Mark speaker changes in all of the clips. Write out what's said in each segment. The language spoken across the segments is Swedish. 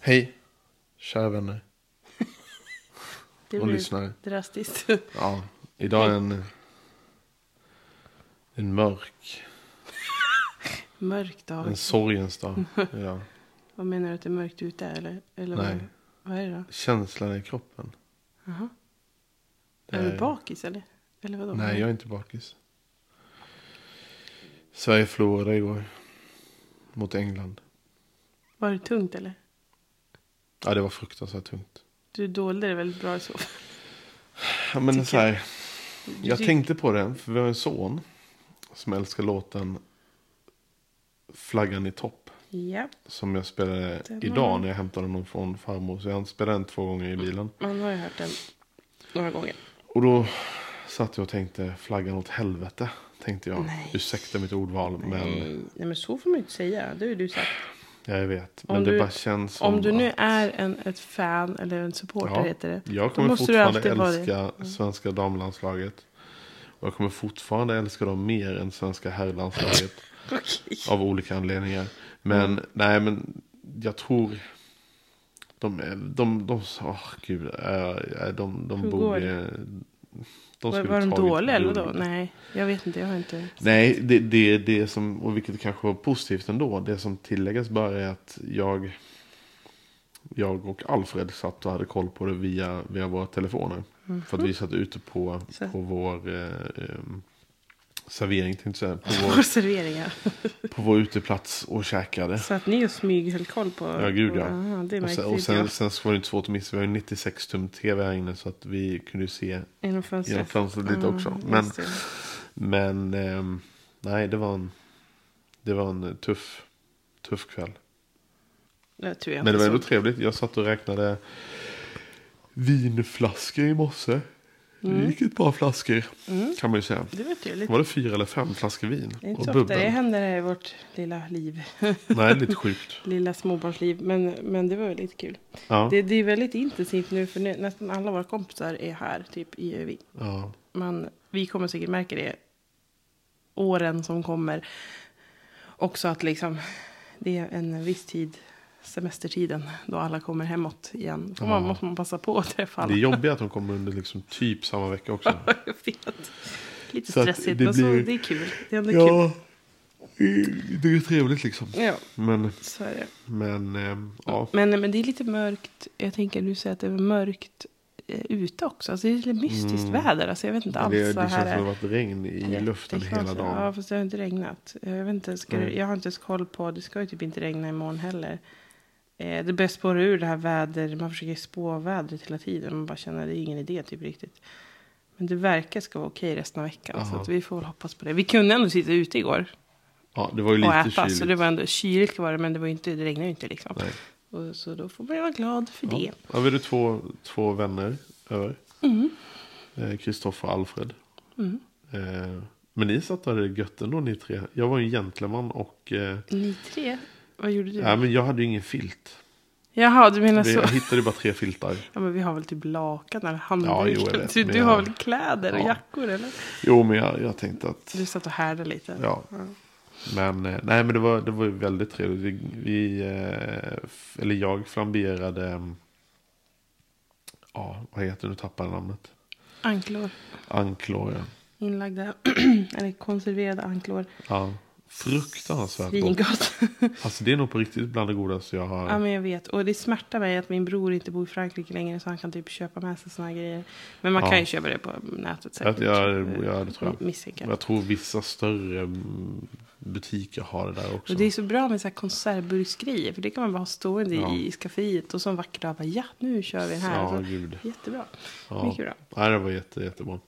Speaker 1: Hej, kära vänner.
Speaker 2: Det
Speaker 1: Och
Speaker 2: blir
Speaker 1: lyssnare.
Speaker 2: drastiskt.
Speaker 1: Ja, idag är en, en mörk,
Speaker 2: Mörk dag.
Speaker 1: en sorgens dag. Idag.
Speaker 2: Vad menar du att det är mörkt ute eller? eller
Speaker 1: Nej.
Speaker 2: Vad, vad är det då?
Speaker 1: Känslan i kroppen.
Speaker 2: Är
Speaker 1: Eh,
Speaker 2: du bakis eller? Eller vadå?
Speaker 1: Nej, jag är inte bakis. Sverige förlorade igår mot England.
Speaker 2: Var det tungt eller?
Speaker 1: Ja, det var fruktansvärt tungt.
Speaker 2: Du dolde det väldigt bra i så fall.
Speaker 1: Ja, men
Speaker 2: Tycker
Speaker 1: så här, jag
Speaker 2: Ty-
Speaker 1: tänkte på det, för vi har en son som älskar låten Flaggan i topp.
Speaker 2: Ja,
Speaker 1: Som jag spelade
Speaker 2: Den har
Speaker 1: idag
Speaker 2: jag.
Speaker 1: när jag hämtade honom från farmor. Så jag spelade den två gånger i bilen.
Speaker 2: man har ju hört den några gånger.
Speaker 1: Och då satt jag och tänkte flaggan åt helvete. Tänkte jag. Ursäkta mitt ordval. Men
Speaker 2: Nej, nej, men så får man ju inte säga. Det har ju du sagt.
Speaker 1: ja, jag vet. Men
Speaker 2: Om
Speaker 1: det
Speaker 2: du-
Speaker 1: bara känns som
Speaker 2: Om du nu
Speaker 1: att-
Speaker 2: är en, ett fan eller en supporter
Speaker 1: Ja,
Speaker 2: heter det.
Speaker 1: Jag
Speaker 2: då
Speaker 1: kommer
Speaker 2: måste du
Speaker 1: fortfarande
Speaker 2: alltid vara det. Mm.
Speaker 1: älska svenska damlandslaget. Och jag kommer fortfarande älska dem mer än svenska herrlandslaget. Av olika anledningar. Men
Speaker 2: Mm.
Speaker 1: nej, men jag tror... De, är- de, de, åh gud, äh, de, de
Speaker 2: Hur går
Speaker 1: borde...
Speaker 2: det?
Speaker 1: De
Speaker 2: Var,
Speaker 1: skulle
Speaker 2: var de
Speaker 1: tagit
Speaker 2: dåliga eller
Speaker 1: guld.
Speaker 2: vadå? Nej, jag vet inte. Jag har inte...
Speaker 1: Nej, det, det, det som, och vilket kanske var positivt ändå, det som tilläggas bara är att jag, jag och Alfred satt och hade koll på det via, via våra telefoner. För att vi satt ute på,
Speaker 2: Mhm. Så.
Speaker 1: på vår eh, ehm, servering, tänkte jag säga, på
Speaker 2: Vår
Speaker 1: vår,
Speaker 2: serveringar.
Speaker 1: på vår uteplats och käkade.
Speaker 2: Så att ni och smyg höll koll på...
Speaker 1: Ja, gud ja.
Speaker 2: Aha, det
Speaker 1: och
Speaker 2: märkte
Speaker 1: sen,
Speaker 2: inte
Speaker 1: och sen,
Speaker 2: jag.
Speaker 1: sen så var det inte svårt att missa, vi har ju 96 tum tv här inne så att vi kunde ju se
Speaker 2: Genom fönstret.
Speaker 1: genom fönstret lite också.
Speaker 2: Mm,
Speaker 1: Men,
Speaker 2: just det.
Speaker 1: Men ehm, nej, det var en, det var en tuff, tuff kväll.
Speaker 2: Det tror
Speaker 1: Men
Speaker 2: jag
Speaker 1: det
Speaker 2: inte
Speaker 1: var ändå
Speaker 2: så.
Speaker 1: trevligt. Jag satt och räknade vinflaskor i morse.
Speaker 2: Mm.
Speaker 1: Det gick ett par flaskor kan man ju säga.
Speaker 2: Det var trevligt.
Speaker 1: Var det fyra eller fem flaskor vin?
Speaker 2: Mm. Det är inte
Speaker 1: och
Speaker 2: så ofta
Speaker 1: bubbel?
Speaker 2: det händer här i vårt lilla liv.
Speaker 1: Nej, lite sjukt.
Speaker 2: lilla småbarnsliv. Men, men det var väldigt kul.
Speaker 1: Ja.
Speaker 2: Det, det är väldigt intensivt nu för nu, nästan alla våra kompisar är här typ i Övik.
Speaker 1: Ja.
Speaker 2: Men vi kommer säkert märka det åren som kommer. Också att liksom, det är en viss tid, semestertiden, då alla kommer hemåt igen. Då man, måste man passa på att träffa alla.
Speaker 1: Det är jobbigt att de kommer under liksom typ samma vecka också.
Speaker 2: Jag vet. Lite
Speaker 1: Så att
Speaker 2: stressigt,
Speaker 1: det
Speaker 2: men
Speaker 1: blir-
Speaker 2: så, det är kul. Det är ändå
Speaker 1: Ja, det är trevligt liksom.
Speaker 2: kul. Ja,
Speaker 1: Men,
Speaker 2: så är det.
Speaker 1: men, ehm, ja.
Speaker 2: Men, men det är lite mörkt. Jag tänker, du säger att det är mörkt eh, ute också. Alltså, det är lite mystiskt väder. Alltså, jag vet inte alls
Speaker 1: Mm. Det, det
Speaker 2: vad
Speaker 1: känns som
Speaker 2: här
Speaker 1: att det har
Speaker 2: är.
Speaker 1: varit regn i luften
Speaker 2: Jättekonstigt.
Speaker 1: hela
Speaker 2: Ja,
Speaker 1: dagen. Mm.
Speaker 2: fast det har inte regnat. Jag, vet inte, ska det,
Speaker 1: Nej.
Speaker 2: jag har inte ens koll på, det ska ju typ inte regna imorgon heller. Eh, det börjar spåra ur det här väder, man försöker spå vädret hela tiden. Man bara känner, det är ingen idé typ riktigt. Men det verkar ska vara okej resten av veckan. Så
Speaker 1: Jaha.
Speaker 2: att vi får väl hoppas på det. Vi kunde ändå sitta ute igår
Speaker 1: Ja, det var ju
Speaker 2: och
Speaker 1: lite
Speaker 2: äta. Så det
Speaker 1: kyligt.
Speaker 2: var ändå kyligt var det, men det, var ju inte, det regnade ju inte liksom.
Speaker 1: Nej.
Speaker 2: Och, så då får man ju vara glad för det.
Speaker 1: Ja, vi är två, två
Speaker 2: Mm.
Speaker 1: vänner över. Kristoffer och Alfred. Eh, Men ni satt där det gött ändå ni tre. Jag var ju en gentleman och... Eh,
Speaker 2: Ni tre? Vad gjorde du?
Speaker 1: nej men jag hade ju ingen filt.
Speaker 2: Jaha, du menar
Speaker 1: Vi-
Speaker 2: Mm. så.
Speaker 1: Jag hittade ju bara tre filtar.
Speaker 2: Ja, men vi har väl typ lakan eller
Speaker 1: Ja, jo, jag
Speaker 2: handdukar.
Speaker 1: vet,
Speaker 2: du,
Speaker 1: men
Speaker 2: du
Speaker 1: jag-
Speaker 2: har väl kläder och
Speaker 1: Ja.
Speaker 2: jackor eller?
Speaker 1: Jo men jag, jag tänkte att...
Speaker 2: Du satt och härdade lite.
Speaker 1: Ja. Men, eh, nej, men det var, det var ju väldigt trevligt. Vi, vi, eh, f- eller jag flamberade, eh, ja, vad heter det, nu tappar jag namnet.
Speaker 2: Anklor.
Speaker 1: Anklor, ja.
Speaker 2: Inlagda, eller konserverade anklor.
Speaker 1: ja. Fruktansvärt gott.
Speaker 2: Svingott.
Speaker 1: Alltså det är nog på riktigt bland det godaste jag har.
Speaker 2: ja, men jag vet. Och det smärtar mig att min bror inte bor i Frankrike längre så han kan typ köpa med sig såna här grejer. Men man
Speaker 1: Ja.
Speaker 2: kan ju köpa det på nätet säkert.
Speaker 1: jag, jag, jag, det tror jag.
Speaker 2: Misstänker jag.
Speaker 1: jag tror vissa större mm, butiker har det där också.
Speaker 2: Och det är så bra med så här konservburksgrejer för det kan man bara ha stående
Speaker 1: Ja.
Speaker 2: i skafferiet och så en vacker dag bara ja nu kör vi den här.
Speaker 1: Ja,
Speaker 2: så,
Speaker 1: gud.
Speaker 2: Jättebra.
Speaker 1: ja.
Speaker 2: Mycket bra.
Speaker 1: Nej, det var jätte, jättebra.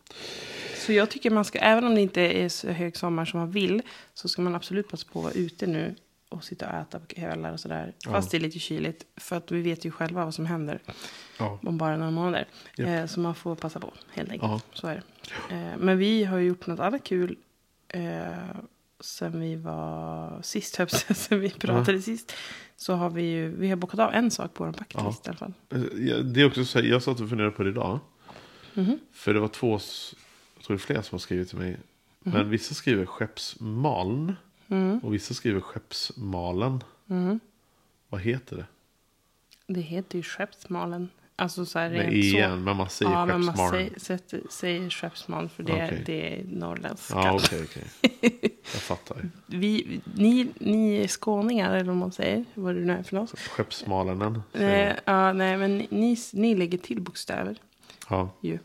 Speaker 2: Så jag tycker man ska, även om det inte är så hög sommar som man vill, så ska man absolut passa på att vara ute nu och sitta och äta på kvällar och sådär. Fast det är lite kyligt, för att vi vet ju själva vad som händer
Speaker 1: Ja.
Speaker 2: om bara några månader.
Speaker 1: Japp.
Speaker 2: Eh, så man får passa på, helt enkelt.
Speaker 1: Ja.
Speaker 2: Så är det. Eh, men vi har ju gjort något annat kul eh, sen vi var sist, höll jag på att säga, sen vi pratade sist. Så har vi ju, vi har bockat av en sak på vår packlist i alla fall.
Speaker 1: Eh, Ja, Det är också så här, jag satt och funderade på det idag.
Speaker 2: Mhm.
Speaker 1: För det var två, s- jag tror det är fler som har skrivit till mig.
Speaker 2: Mhm.
Speaker 1: Men vissa skriver skeppsmaln.
Speaker 2: Mm.
Speaker 1: Och vissa skriver skeppsmalen.
Speaker 2: Mhm.
Speaker 1: Vad heter det?
Speaker 2: Det heter ju Skeppsmalen. Alltså så här
Speaker 1: Med
Speaker 2: rent så.
Speaker 1: igen, men man säger
Speaker 2: ja, men man
Speaker 1: skeppsmalen.
Speaker 2: säger, sätter, säger skeppsmal för det,
Speaker 1: Okej.
Speaker 2: det är norrländska.
Speaker 1: Ja, okej, okej. Jag
Speaker 2: Mm.
Speaker 1: fattar.
Speaker 2: Vi, ni, ni är skåningar, eller vad man säger, vad det nu är för något.
Speaker 1: Skeppsmalenen. säger
Speaker 2: Nej,
Speaker 1: man.
Speaker 2: ja, nej, men ni, ni lägger till bokstäver
Speaker 1: Ja,
Speaker 2: ju,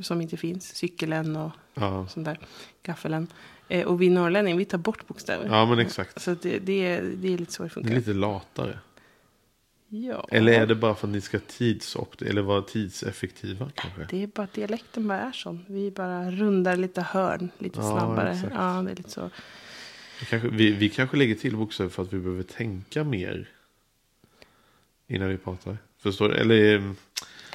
Speaker 2: som inte finns. Cykeln och
Speaker 1: ja.
Speaker 2: sånt där, gaffelen. Eh, och vi norrlänningar, vi tar bort bokstäver.
Speaker 1: ja, men exakt.
Speaker 2: Så att det, det, är, det är lite så det
Speaker 1: Det
Speaker 2: funkar.
Speaker 1: är lite latare.
Speaker 2: ja.
Speaker 1: Eller är det bara för att ni ska tidsopt eller vara tidseffektiva kanske?
Speaker 2: Det är bara att dialekten bara är sån. Vi bara rundar lite hörn lite
Speaker 1: Ja,
Speaker 2: snabbare.
Speaker 1: exakt.
Speaker 2: Ja, det är lite så.
Speaker 1: Kanske, vi, vi kanske lägger till bokstäver för att vi behöver tänka mer. Innan vi pratar. Förstår du? Eller eh,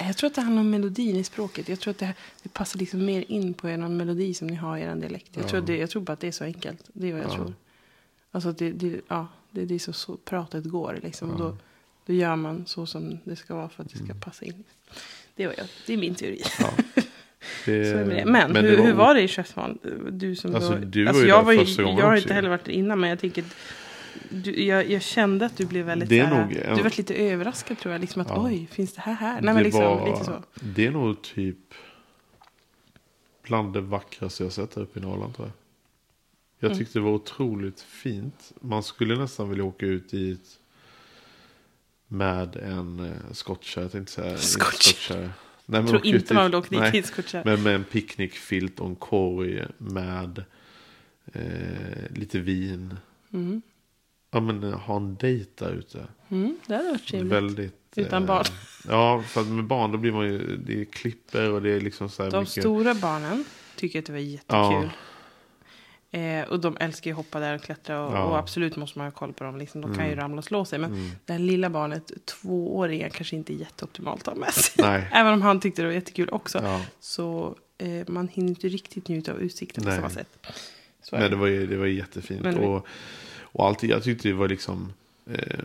Speaker 2: Jag tror att det handlar om melodin i språket. Jag tror att det, det passar liksom mer in på er melodi som ni har i er dialekt. Jag, tror att det, jag tror bara att det är så enkelt. Det är vad jag tror. Alltså att det, det, ja, det, det är så, så pratet går liksom. Och då, då gör man så som det ska vara för att det
Speaker 1: Mm.
Speaker 2: ska passa in. Det, var jag. det är min teori.
Speaker 1: Eh, det,
Speaker 2: Så är det med det. Men, hur, hur var det i Chefsman? Du som
Speaker 1: Alltså,
Speaker 2: då,
Speaker 1: du var ju
Speaker 2: jag
Speaker 1: där första gången
Speaker 2: Jag har
Speaker 1: också
Speaker 2: inte
Speaker 1: ju.
Speaker 2: heller varit där innan men jag tänker att du, jag, jag kände att du blev väldigt
Speaker 1: Det är
Speaker 2: så här,
Speaker 1: nog en-
Speaker 2: Du var lite överraskad tror jag. Liksom att oj, finns det här här? Nej
Speaker 1: det
Speaker 2: men liksom
Speaker 1: var-
Speaker 2: lite så.
Speaker 1: Det är nog typ bland det vackraste jag sett här uppe i Norrland tror jag. Jag
Speaker 2: Mm.
Speaker 1: tyckte det var otroligt fint. Man skulle nästan vilja åka ut dit med en eh, skottkärra. Jag tänkte säga
Speaker 2: Skottkärra.
Speaker 1: skottkärra. Nej, men
Speaker 2: tror
Speaker 1: åka ut
Speaker 2: inte man vill åka dit
Speaker 1: nej.
Speaker 2: i en skottkärra.
Speaker 1: Men med en picknickfilt och en korg med eh, lite vin. Ja men eh, ha en dejt där ute.
Speaker 2: Mm, det hade varit trevligt.
Speaker 1: Väldigt, eh,
Speaker 2: Utan barn.
Speaker 1: Ja, för att med barn då blir man ju, det är klipper och det är liksom så här
Speaker 2: De
Speaker 1: mycket.
Speaker 2: stora barnen tycker att det var jättekul. Eh, och de älskar ju att hoppa där och klättra och,
Speaker 1: Ja. Mm.
Speaker 2: och absolut måste man ha koll på dem. Liksom, de kan ju ramla och slå sig. Men det här lilla barnet, tvååringen, kanske inte är jätteoptimalt att ha med sig.
Speaker 1: Nej.
Speaker 2: Även om han tyckte det var jättekul också.
Speaker 1: Ja.
Speaker 2: Så eh, man hinner inte riktigt njuta av utsikten på
Speaker 1: Nej.
Speaker 2: samma sätt. Så är
Speaker 1: Nej,
Speaker 2: det.
Speaker 1: det var ju det var ju jättefint.
Speaker 2: Men-
Speaker 1: och, och alltid, jag tyckte det var liksom, eh,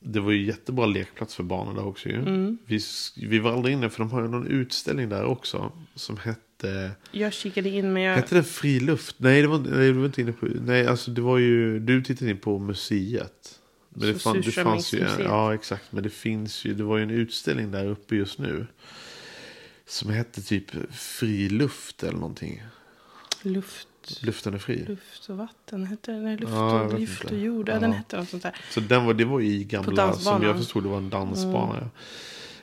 Speaker 1: det var ju jättebra lekplats för barnen där också ju.
Speaker 2: Mm.
Speaker 1: Vi, s- vi var aldrig inne, för de har ju någon utställning där också som hette,
Speaker 2: Jag kikade in men jag...
Speaker 1: hette den Fri Luft? Nej, det var, inte- nej, du var inte inne på, nej alltså det var ju, du tittade in på museet. Men det,
Speaker 2: Så
Speaker 1: fan, det fanns ju, en-
Speaker 2: surströmmingsmuseet.
Speaker 1: ja exakt, men det finns ju, det var ju en utställning där uppe just nu. Som hette typ Fri Luft eller någonting.
Speaker 2: Luft,
Speaker 1: Luften är fri.
Speaker 2: luft och vatten hette den. Nej, Luft,
Speaker 1: Ja, jag
Speaker 2: och,
Speaker 1: vet
Speaker 2: luft
Speaker 1: inte.
Speaker 2: och jord. Ja.
Speaker 1: Ja.
Speaker 2: Den hette något sånt där.
Speaker 1: Så den var, det var i
Speaker 2: På
Speaker 1: gamla,
Speaker 2: dansbanan.
Speaker 1: som
Speaker 2: Mm.
Speaker 1: jag förstod det var en dansbana. Ja.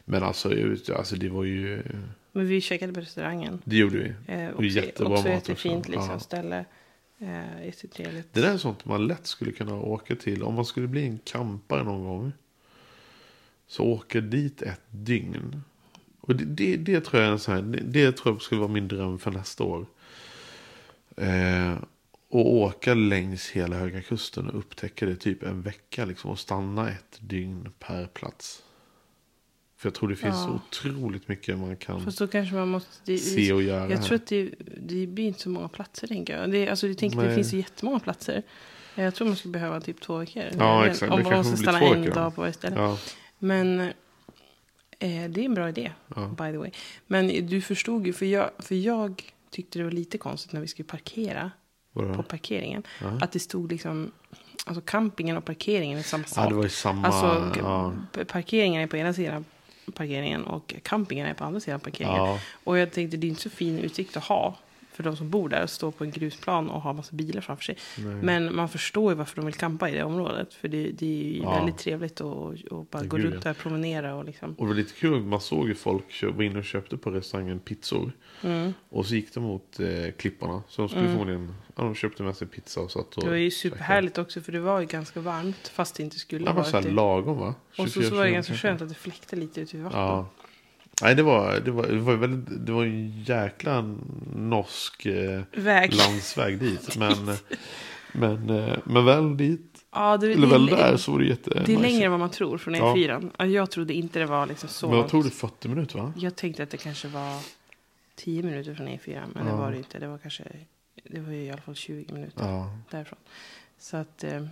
Speaker 1: Men alltså, ut- alltså, det var ju,
Speaker 2: Men vi käkade på restaurangen.
Speaker 1: det gjorde vi.
Speaker 2: Eh,
Speaker 1: Och
Speaker 2: också,
Speaker 1: jättebra
Speaker 2: också
Speaker 1: mat
Speaker 2: jättefint
Speaker 1: också.
Speaker 2: liksom,
Speaker 1: Ja.
Speaker 2: ställe. Eh, jättetrevligt.
Speaker 1: Det där är sånt man lätt skulle kunna åka till. Om man skulle bli en kampare någon gång. Så åka dit ett dygn. Och det, det, det tror jag är så här, det, det tror jag skulle vara min dröm för nästa år. Eh, och åka längs hela Höga Kusten och upptäcka det typ en vecka. Liksom, och stanna ett dygn per plats. För jag tror det finns
Speaker 2: Ja.
Speaker 1: så otroligt mycket man kan.
Speaker 2: Fast då kanske man måste... Det,
Speaker 1: Se och göra
Speaker 2: jag
Speaker 1: här.
Speaker 2: tror att det, det blir inte så många platser tänker jag. Det, alltså, jag tänker att det
Speaker 1: Nej.
Speaker 2: finns ju jättemånga platser. Eh, Jag tror man skulle behöva typ två veckor.
Speaker 1: Ja,
Speaker 2: Eller
Speaker 1: exakt.
Speaker 2: Om
Speaker 1: Det
Speaker 2: man
Speaker 1: kanske
Speaker 2: måste
Speaker 1: blir
Speaker 2: stanna
Speaker 1: två
Speaker 2: en
Speaker 1: veckor då.
Speaker 2: dag på varje ställe.
Speaker 1: Ja,
Speaker 2: Men eh, det är en bra idé, by the way. Men du förstod ju, för jag, för jag tyckte det var lite konstigt när vi skulle parkera
Speaker 1: vadå?
Speaker 2: på parkeringen. Att det stod liksom, alltså campingen och parkeringen är samma sak.
Speaker 1: Ja, det var ju samma-
Speaker 2: Alltså g-
Speaker 1: ja.
Speaker 2: p- parkeringen är på ena sidan parkeringen och campingen är på andra sidan parkeringen.
Speaker 1: Ja.
Speaker 2: Och jag tänkte det är inte så fin utsikt att ha. För de som bor där och står på en grusplan och har massa bilar framför sig. Men man förstår ju varför de vill campa i det området. För det, det är ju
Speaker 1: Ja.
Speaker 2: väldigt trevligt att att bara gå
Speaker 1: Gud,
Speaker 2: runt
Speaker 1: ja.
Speaker 2: där och promenera och liksom.
Speaker 1: Och det var lite kul, man såg ju folk kö- var inne och köpte på restaurangen pizzor.
Speaker 2: Mm.
Speaker 1: Och så gick de mot eh, klipparna. Så de skulle förmodligen, ja de köpte med sig pizza och satt och...
Speaker 2: Det var ju superhärligt också för det var ju ganska varmt fast det inte skulle
Speaker 1: Det var
Speaker 2: vara
Speaker 1: så här
Speaker 2: ute.
Speaker 1: lagom va?
Speaker 2: Och så,
Speaker 1: 24,
Speaker 2: så var det
Speaker 1: 25,
Speaker 2: ganska
Speaker 1: kanske.
Speaker 2: skönt att det fläkte lite ute vid vattnet.
Speaker 1: Ja. Nej det var, det var, det var ju väldigt, det var ju en jäkla norsk eh,
Speaker 2: Väg.
Speaker 1: landsväg dit. Men, eh, men, eh, men väl dit,
Speaker 2: Ja, det,
Speaker 1: eller
Speaker 2: det,
Speaker 1: väl
Speaker 2: det,
Speaker 1: där så var det jätte...
Speaker 2: det är längre än vad man tror från
Speaker 1: Ja.
Speaker 2: E4. Ja. Jag trodde inte det var liksom så
Speaker 1: Men jag
Speaker 2: långt.
Speaker 1: tror det är 40 minuter va?
Speaker 2: Jag tänkte att det kanske var 10 minuter från E4, men det var det inte. Det var kanske, det var ju i alla fall 20 minuter
Speaker 1: Ja.
Speaker 2: därifrån. Så att, eh,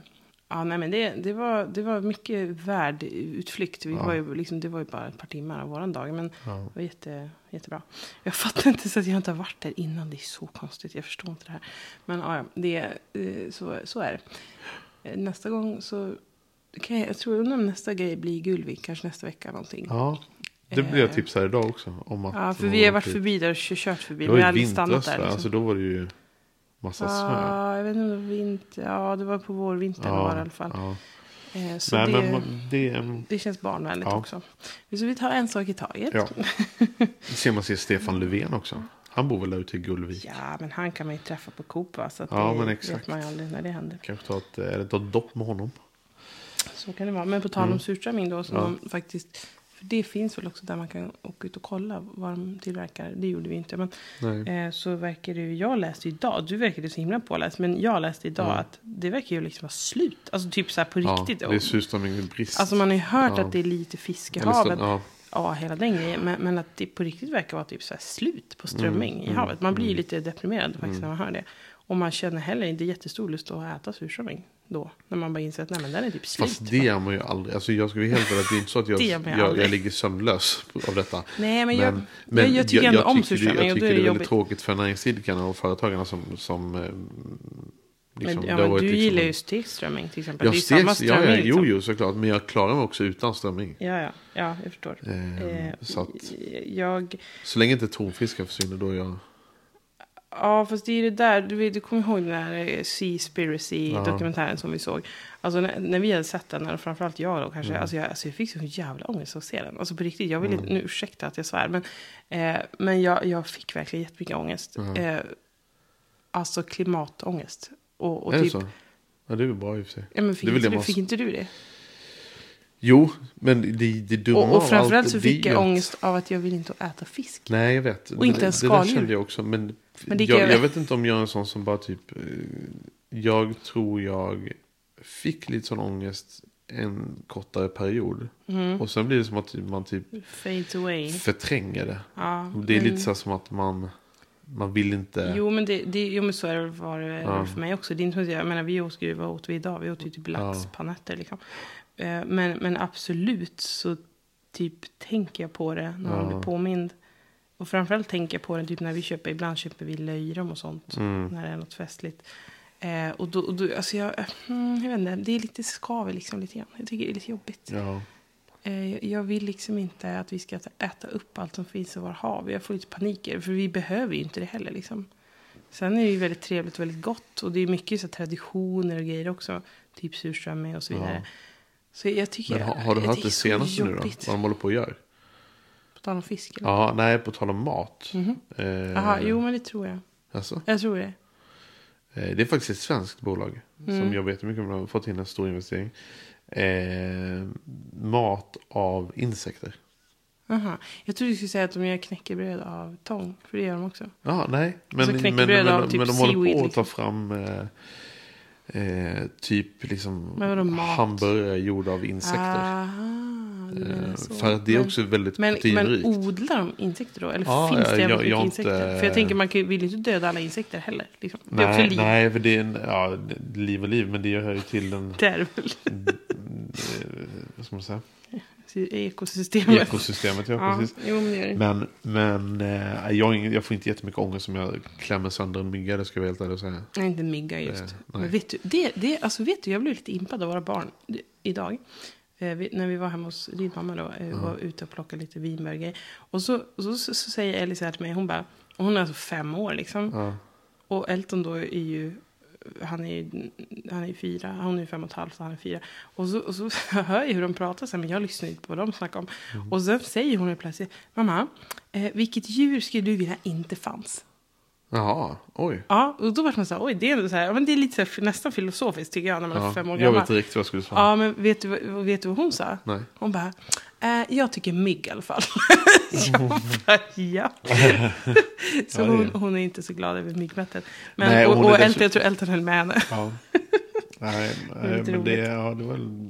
Speaker 2: ja nej men det, det, var, det var mycket värd utflykt. Vi var ju liksom, det var ju bara ett par timmar av våran dag, men det var jätte, jättebra. Jag fattar inte så att jag inte har varit där innan. Det är så konstigt, jag förstår inte det här. Men ja, ja, det, eh, så, så är det. Eh, Nästa gång så, kan jag, jag tror undrar om nästa grej blir Gulvik, kanske nästa vecka någonting.
Speaker 1: Ja, det blev jag tips här idag också. Om att
Speaker 2: Eh. Ja, för vi har varit förbi där och kö- kört förbi.
Speaker 1: typ- Det
Speaker 2: Men
Speaker 1: var
Speaker 2: vi
Speaker 1: ju
Speaker 2: har aldrig
Speaker 1: vintras
Speaker 2: stannat
Speaker 1: där,
Speaker 2: där. Liksom.
Speaker 1: alltså då var det ju massa snö.
Speaker 2: ja, jag vet inte om det var vinter. Ja, det var på vårvintern
Speaker 1: Ja,
Speaker 2: var det i alla fall.
Speaker 1: ja.
Speaker 2: Eh, så
Speaker 1: Nej
Speaker 2: det,
Speaker 1: men man- det, mm,
Speaker 2: det känns barnvänligt
Speaker 1: Ja.
Speaker 2: också. Så vi tar en sak i taget.
Speaker 1: ja. Det ser man ser Stefan Löfven också. Han bor väl där ute i Gullvik.
Speaker 2: Ja, men han kan man ju träffa på Coop va? Så att
Speaker 1: Ja,
Speaker 2: det
Speaker 1: men
Speaker 2: vet
Speaker 1: exakt.
Speaker 2: man ju aldrig när det händer.
Speaker 1: Kanske ta ett, eh, eller ta ett dopp med honom.
Speaker 2: Så kan det vara. Men på tal om
Speaker 1: Mm.
Speaker 2: surströmming då. Som de faktiskt, för det finns väl också där man kan åka ut och kolla vad de tillverkar. Det gjorde vi inte. Men eh, så verkar det ju. Jag läste idag. Du verkade så himla påläst. Men jag läste idag att det verkar ju liksom vara slut. Alltså typ så här på
Speaker 1: Ja,
Speaker 2: riktigt.
Speaker 1: det är surströmmingsbrist.
Speaker 2: Alltså man har ju hört
Speaker 1: Ja.
Speaker 2: att det är lite fisk i
Speaker 1: Eller så-
Speaker 2: havet.
Speaker 1: ja.
Speaker 2: Ja. hela den grejen. Men, men att det på riktigt verkar vara typ så här slut på strömming
Speaker 1: Mm,
Speaker 2: i havet. Man blir ju lite deprimerad faktiskt när man hör det. Och man känner heller inte jättestor lust att äta surströmming då. När man bara inser att nej men den är typ slut.
Speaker 1: Fast det är man ju aldrig. Alltså jag ska vara helt ärlig. Det är inte så att jag,
Speaker 2: Det är man ju
Speaker 1: jag,
Speaker 2: aldrig.
Speaker 1: jag ligger sömnlös av detta.
Speaker 2: Nej, men jag- jag- jag tycker ändå om surströmming och
Speaker 1: Jag
Speaker 2: då
Speaker 1: tycker det
Speaker 2: är det
Speaker 1: är väldigt
Speaker 2: jobbigt.
Speaker 1: tråkigt för näringsidkarna och företagarna som... som eh, liksom,
Speaker 2: men,
Speaker 1: det
Speaker 2: ja,
Speaker 1: har
Speaker 2: men
Speaker 1: varit
Speaker 2: du
Speaker 1: liksom
Speaker 2: gillar
Speaker 1: en-
Speaker 2: ju stekt strömming till exempel.
Speaker 1: Jag
Speaker 2: det är ju
Speaker 1: steg,
Speaker 2: samma
Speaker 1: ja,
Speaker 2: strömming.
Speaker 1: ja, jo,
Speaker 2: liksom.
Speaker 1: jo, såklart. Men jag klarar mig också utan strömming.
Speaker 2: Ja, ja, ja, jag förstår.
Speaker 1: Eh,
Speaker 2: Eh,
Speaker 1: så att,
Speaker 2: jag,
Speaker 1: så länge inte tonfisken försvinner då är jag...
Speaker 2: Ja, fast det är det där. Du, vet, du kommer ihåg den där Seaspiracy-dokumentären som vi såg. Alltså när, när vi hade sett den, och framförallt jag då
Speaker 1: Mm.
Speaker 2: kanske. Alltså, jag, alltså jag fick så jävla ångest av att se den. Alltså på riktigt, jag vill inte, nu ursäkta att jag svär. Men, eh, men jag, jag fick verkligen jättemycket ångest. Eh, alltså klimatångest. Och, och
Speaker 1: är
Speaker 2: typ,
Speaker 1: det så? Ja, det är väl bra i och för sig.
Speaker 2: Ja, men fick,
Speaker 1: det är väl
Speaker 2: inte
Speaker 1: det
Speaker 2: du,
Speaker 1: man-
Speaker 2: fick inte du det?
Speaker 1: Jo, men det, det dumma av
Speaker 2: Och, och
Speaker 1: allt
Speaker 2: framförallt så
Speaker 1: det
Speaker 2: fick
Speaker 1: är
Speaker 2: jag
Speaker 1: att-
Speaker 2: ångest av att jag vill inte äta fisk.
Speaker 1: Nej, jag vet.
Speaker 2: Och inte ens
Speaker 1: det, det där
Speaker 2: skaldjur.
Speaker 1: kände jag också. Men,
Speaker 2: Men det kan jag-
Speaker 1: jag, jag vet inte om jag är en sån som bara typ... eh, Jag tror jag fick lite sån ångest en kortare period.
Speaker 2: Mm.
Speaker 1: Och sen blir det som att typ- man typ
Speaker 2: Fades away.
Speaker 1: förtränger det.
Speaker 2: Ja,
Speaker 1: Och det är lite så här som att man, man vill inte...
Speaker 2: Jo men, det, det, jo men så är det var det väl för mig också. Det är inte som att jag, jag menar vi åt ju, vad åt vi idag? Vi åt ju typ laxpanetter liksom. Eh, Men, men absolut så typ tänker jag på det när man blir påmind. Och framförallt tänker jag på det typ när vi köper, ibland köper vi löjrom och sånt. När det är något festligt. Eh, och då, och då alltså jag, mm, jag vet inte, det är lite skaver liksom lite grann. Jag tycker det är lite jobbigt.
Speaker 1: Ja.
Speaker 2: Eh, jag- Jag vill liksom inte att vi ska äta- äta upp allt som finns i våra hav. Jag får lite panik, för vi behöver ju inte det heller. Liksom. Sen är det ju väldigt trevligt och väldigt gott. Och det är mycket så här traditioner och grejer också. Typ surströmming och så vidare. Så jag tycker
Speaker 1: Men har, har du
Speaker 2: det
Speaker 1: hört
Speaker 2: är
Speaker 1: det
Speaker 2: så
Speaker 1: senaste nu då? Vad
Speaker 2: jobbigt.
Speaker 1: de håller på och gör?
Speaker 2: På tal om fisk. eller?
Speaker 1: Ja, nej, på tal om mat. Eh,
Speaker 2: Jaha, Mhm. jo men det tror jag.
Speaker 1: Alltså,
Speaker 2: Jag tror det.
Speaker 1: eh, det är faktiskt ett svenskt bolag
Speaker 2: Mm.
Speaker 1: som jobbar jättemycket med. De har fått in en stor investering. Eh, mat av insekter.
Speaker 2: Aha. Jag trodde du skulle säga att de gör knäckebröd av tång. För det gör de också.
Speaker 1: Ja, nej. Men,
Speaker 2: så
Speaker 1: men, men,
Speaker 2: knäckebröd av
Speaker 1: men,
Speaker 2: typ
Speaker 1: de håller
Speaker 2: seaweed,
Speaker 1: på att ta
Speaker 2: liksom.
Speaker 1: fram eh, eh, typ liksom
Speaker 2: Men vadå, mat? Ah.
Speaker 1: hamburgare gjorda av insekter. Eh,
Speaker 2: Aha. du menar så.
Speaker 1: För att det är också väldigt
Speaker 2: men, men
Speaker 1: proteinrikt.
Speaker 2: odlar de insekter då? Eller
Speaker 1: Ja,
Speaker 2: finns
Speaker 1: ja,
Speaker 2: det
Speaker 1: jag-
Speaker 2: jävligt
Speaker 1: jag
Speaker 2: mycket
Speaker 1: har
Speaker 2: insekter?
Speaker 1: inte-
Speaker 2: För jag tänker man kan, ju- vill ju inte döda alla insekter heller. Liksom. Det är också
Speaker 1: nej,
Speaker 2: liv.
Speaker 1: nej, för det är en, ja, liv och liv, men det hör ju till den, eh,
Speaker 2: Det är väl
Speaker 1: Mm. vad ska man säga,
Speaker 2: ekosystemet.
Speaker 1: ekosystemet. Ja,
Speaker 2: ja,
Speaker 1: precis.
Speaker 2: jo, men det gör det.
Speaker 1: Men, men eh, jag, har ingen- jag får inte jättemycket ångest om jag klämmer sönder en mygga, det ska jag vara helt ärlig och säga.
Speaker 2: Nej, inte mygga just.
Speaker 1: Eh, nej.
Speaker 2: men vet du, det, det, alltså vet du, jag blev lite impad av våra barn d- idag. Eh, vi, när vi var hemma hos din mamma då, eh, var ute och plockade lite vinbär och grejer. Och så, så, så, så säger Ellie så här till mig, hon bara, och hon är alltså fem år liksom. Och Elton då är ju, han är ju, han är ju fyra, hon är ju fem och ett halvt och han är fyra. Och så, och så hör jag hur de pratar så här, men jag lyssnar ju inte på vad de snackar om.
Speaker 1: Mm.
Speaker 2: Och sen säger hon ju plötsligt, mamma, eh, vilket djur skulle du vilja inte fanns?
Speaker 1: Jaha, oj.
Speaker 2: Ja, och då var man så här, oj, det är, ändå så här, ja, men det är lite så här, nästan filosofiskt tycker jag när man är
Speaker 1: Ja,
Speaker 2: fem år
Speaker 1: jag
Speaker 2: gammal.
Speaker 1: vet inte riktigt vad jag skulle svara.
Speaker 2: Ja, men vet du, vad- vet du vad hon sa?
Speaker 1: Nej.
Speaker 2: Hon bara, eh, jag tycker mygg i alla fall. jag bara, ja. så
Speaker 1: Ja, det är-
Speaker 2: hon, hon är inte så glad över myggmätten. Men,
Speaker 1: Nej,
Speaker 2: och
Speaker 1: hon
Speaker 2: och
Speaker 1: är
Speaker 2: Elton,
Speaker 1: dessutom-
Speaker 2: jag tror Elton höll med henne.
Speaker 1: Ja. Nej,
Speaker 2: Det är
Speaker 1: nej
Speaker 2: lite
Speaker 1: men det,
Speaker 2: roligt.
Speaker 1: ja, det var väl...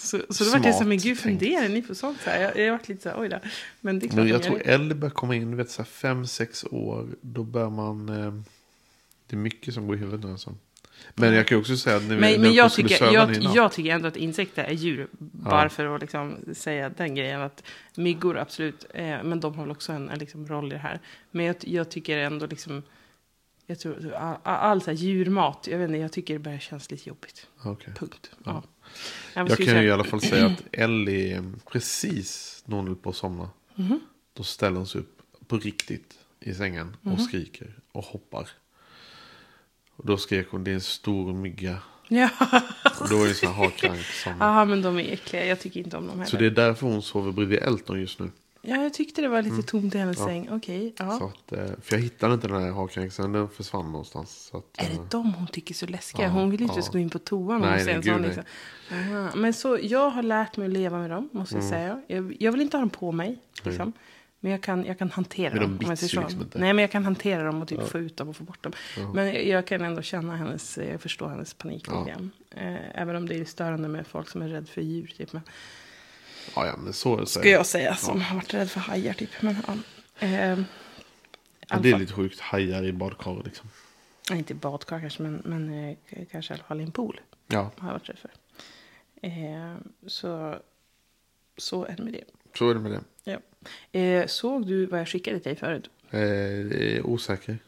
Speaker 2: Så, så då vart jag så här, men
Speaker 1: Smart
Speaker 2: gud
Speaker 1: tänkt.
Speaker 2: funderar ni på sånt? Så här, jag, jag vart lite så här, oj då. Men det är klart
Speaker 1: Men
Speaker 2: de
Speaker 1: jag
Speaker 2: gör
Speaker 1: tror
Speaker 2: det.
Speaker 1: Ellie börjar komma in, du vet så här fem, sex år, då börjar man... Eh, det är mycket som går i huvudet nu alltså. Men jag kan ju också säga att när vi-
Speaker 2: Men,
Speaker 1: när
Speaker 2: men
Speaker 1: vi
Speaker 2: jag,
Speaker 1: skulle
Speaker 2: tycker,
Speaker 1: söva
Speaker 2: jag,
Speaker 1: den i natt-
Speaker 2: jag tycker ändå att insekter är djur. Bara för att liksom säga den grejen. Att myggor absolut, eh, men de har väl också en, en liksom roll i det här. Men jag, jag tycker ändå liksom, jag tror, all, all så här djurmat, jag vet inte, jag tycker det börjar kännas lite jobbigt.
Speaker 1: Okej.
Speaker 2: Punkt. Ja. Ja, vad
Speaker 1: Jag
Speaker 2: ska vi
Speaker 1: kan ju i
Speaker 2: säga?
Speaker 1: alla fall säga att Ellie, eh, precis när hon höll på att somna,
Speaker 2: Mhm.
Speaker 1: då ställer hon sig upp på riktigt i sängen
Speaker 2: Mhm.
Speaker 1: och skriker och hoppar. Och då skrek hon, det är en stor mygga.
Speaker 2: Ja,
Speaker 1: Och då är det så här hakkrank. som-
Speaker 2: Aha, men de är äckliga. Jag tycker inte om dem heller.
Speaker 1: Så det är därför hon sover bredvid Elton just nu.
Speaker 2: Ja, jag tyckte det var lite tomt i hennes säng. Okej, ja.
Speaker 1: Mm. Så att, eh, för jag hittade inte den här hakkränksen, den försvann någonstans. Så att,
Speaker 2: Är
Speaker 1: eh,
Speaker 2: det de hon tycker är så läskiga? hon vill ju inte ens gå in på toan.
Speaker 1: Nej,
Speaker 2: Nej,
Speaker 1: nej,
Speaker 2: en
Speaker 1: gud,
Speaker 2: sån,
Speaker 1: nej. Mm.
Speaker 2: liksom. Aha. Men så, jag har lärt mig att leva med dem, måste jag säga. Jag, jag vill inte ha dem på mig, liksom. Men jag kan, jag kan hantera
Speaker 1: Men de
Speaker 2: dem. om jag
Speaker 1: bits ju
Speaker 2: säger så.
Speaker 1: liksom inte.
Speaker 2: Nej, men jag kan hantera dem och typ få ut dem och få bort dem. Men jag, jag kan ändå känna hennes, jag förstår hennes panik lite grann. eh, Även om det är störande med folk som är rädda för djur, typ. Men,
Speaker 1: ja, ja, men så är det
Speaker 2: ska
Speaker 1: säkert.
Speaker 2: jag säga, som har varit rädd för hajar, typ. Men, ja. eh,
Speaker 1: Men Det är lite sjukt, hajar i badkar liksom.
Speaker 2: Nej, inte i badkar kanske, men, men eh, k- kanske i alla fall i en pool.
Speaker 1: Ja.
Speaker 2: Har jag varit rädd för. Eh, så, så är det med det.
Speaker 1: Så är det med det.
Speaker 2: Ja. Eh, såg du vad jag skickade till dig förut?
Speaker 1: Eh, det är osäker.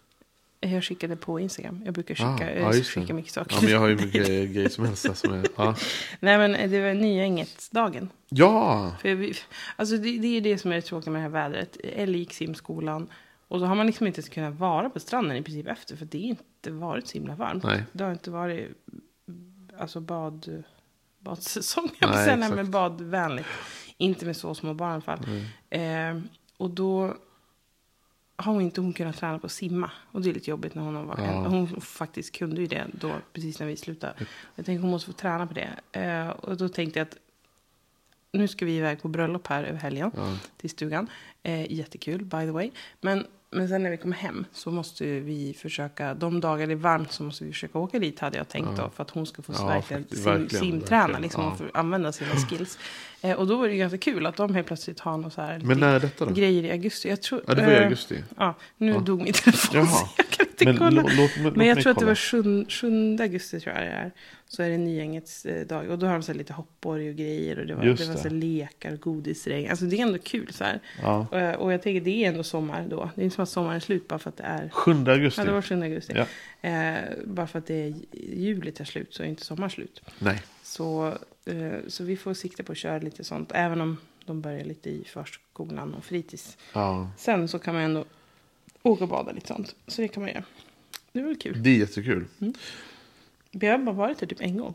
Speaker 2: Eh, Jag skickade på Instagram. Jag brukar
Speaker 1: Ah,
Speaker 2: skicka, eh,
Speaker 1: just det.
Speaker 2: skicka mycket saker.
Speaker 1: Ja, men jag har ju mycket grejer som helst. där Som är, ja.
Speaker 2: Nej, men eh, det var Nyänget-dagen.
Speaker 1: ja,
Speaker 2: För vi, alltså det, det är ju det som är det tråkiga med det här vädret. Ellie gick simskolan. Och så har man liksom inte ens kunnat vara på stranden i princip efter. För det har inte varit så himla varmt.
Speaker 1: Nej.
Speaker 2: Det har inte varit alltså bad, badsäsong. Jag
Speaker 1: Nej,
Speaker 2: vill säga, nej,
Speaker 1: exakt.
Speaker 2: men badvänligt. Inte med så små barn i alla fall. Eh, och då har hon inte hon kunnat träna på att simma. Och det är lite jobbigt när hon har varit Hon faktiskt kunde ju det då, precis när vi slutade. Jag tänkte hon måste få träna på det. Eh, och då tänkte jag att nu ska vi iväg på bröllop här över helgen till stugan. Eh, jättekul, by the way. Men, men sen när vi kommer hem så måste vi försöka, de dagar det är varmt så måste vi försöka åka dit hade jag tänkt då. För att hon ska få
Speaker 1: Ja,
Speaker 2: verkligen,
Speaker 1: faktiskt,
Speaker 2: sim,
Speaker 1: verkligen,
Speaker 2: simträna,
Speaker 1: verkligen.
Speaker 2: liksom,
Speaker 1: Ja.
Speaker 2: och få använda sina skills. Eh, och då var det ju ganska kul att de helt plötsligt har något så här
Speaker 1: men när är detta då?
Speaker 2: grejer i augusti. Jag tror,
Speaker 1: Ja, det var i
Speaker 2: eh,
Speaker 1: augusti.
Speaker 2: Ja, nu dog min telefon
Speaker 1: Jaha.
Speaker 2: så jag kan inte
Speaker 1: Men
Speaker 2: kolla.
Speaker 1: lå- låt mig- låt
Speaker 2: men jag
Speaker 1: mig
Speaker 2: tror att det
Speaker 1: kolla.
Speaker 2: var 7, 7 augusti tror jag det är. Så är det Nyängets eh, dag. Och då har de så här lite hoppborg och grejer. Och det var, det.
Speaker 1: Just
Speaker 2: var så
Speaker 1: det.
Speaker 2: här lekar och godisregn. Alltså det är ändå kul så här.
Speaker 1: Ja.
Speaker 2: Eh, Och jag tänker det är ändå sommar då. Det är inte som att sommaren är slut bara för att det är
Speaker 1: 7 augusti.
Speaker 2: Ja, det var 7 augusti.
Speaker 1: Ja.
Speaker 2: Eh, bara för att det är juli tar slut så är inte sommaren slut.
Speaker 1: Nej,
Speaker 2: Så, eh, så vi får sikta på att köra lite sånt. Även om de börjar lite i förskolan och fritids.
Speaker 1: ja.
Speaker 2: Sen så kan man ändå åka och bada lite sånt. Så det kan man göra. Det var väl kul.
Speaker 1: det är jättekul.
Speaker 2: Vi har bara varit där typ en gång.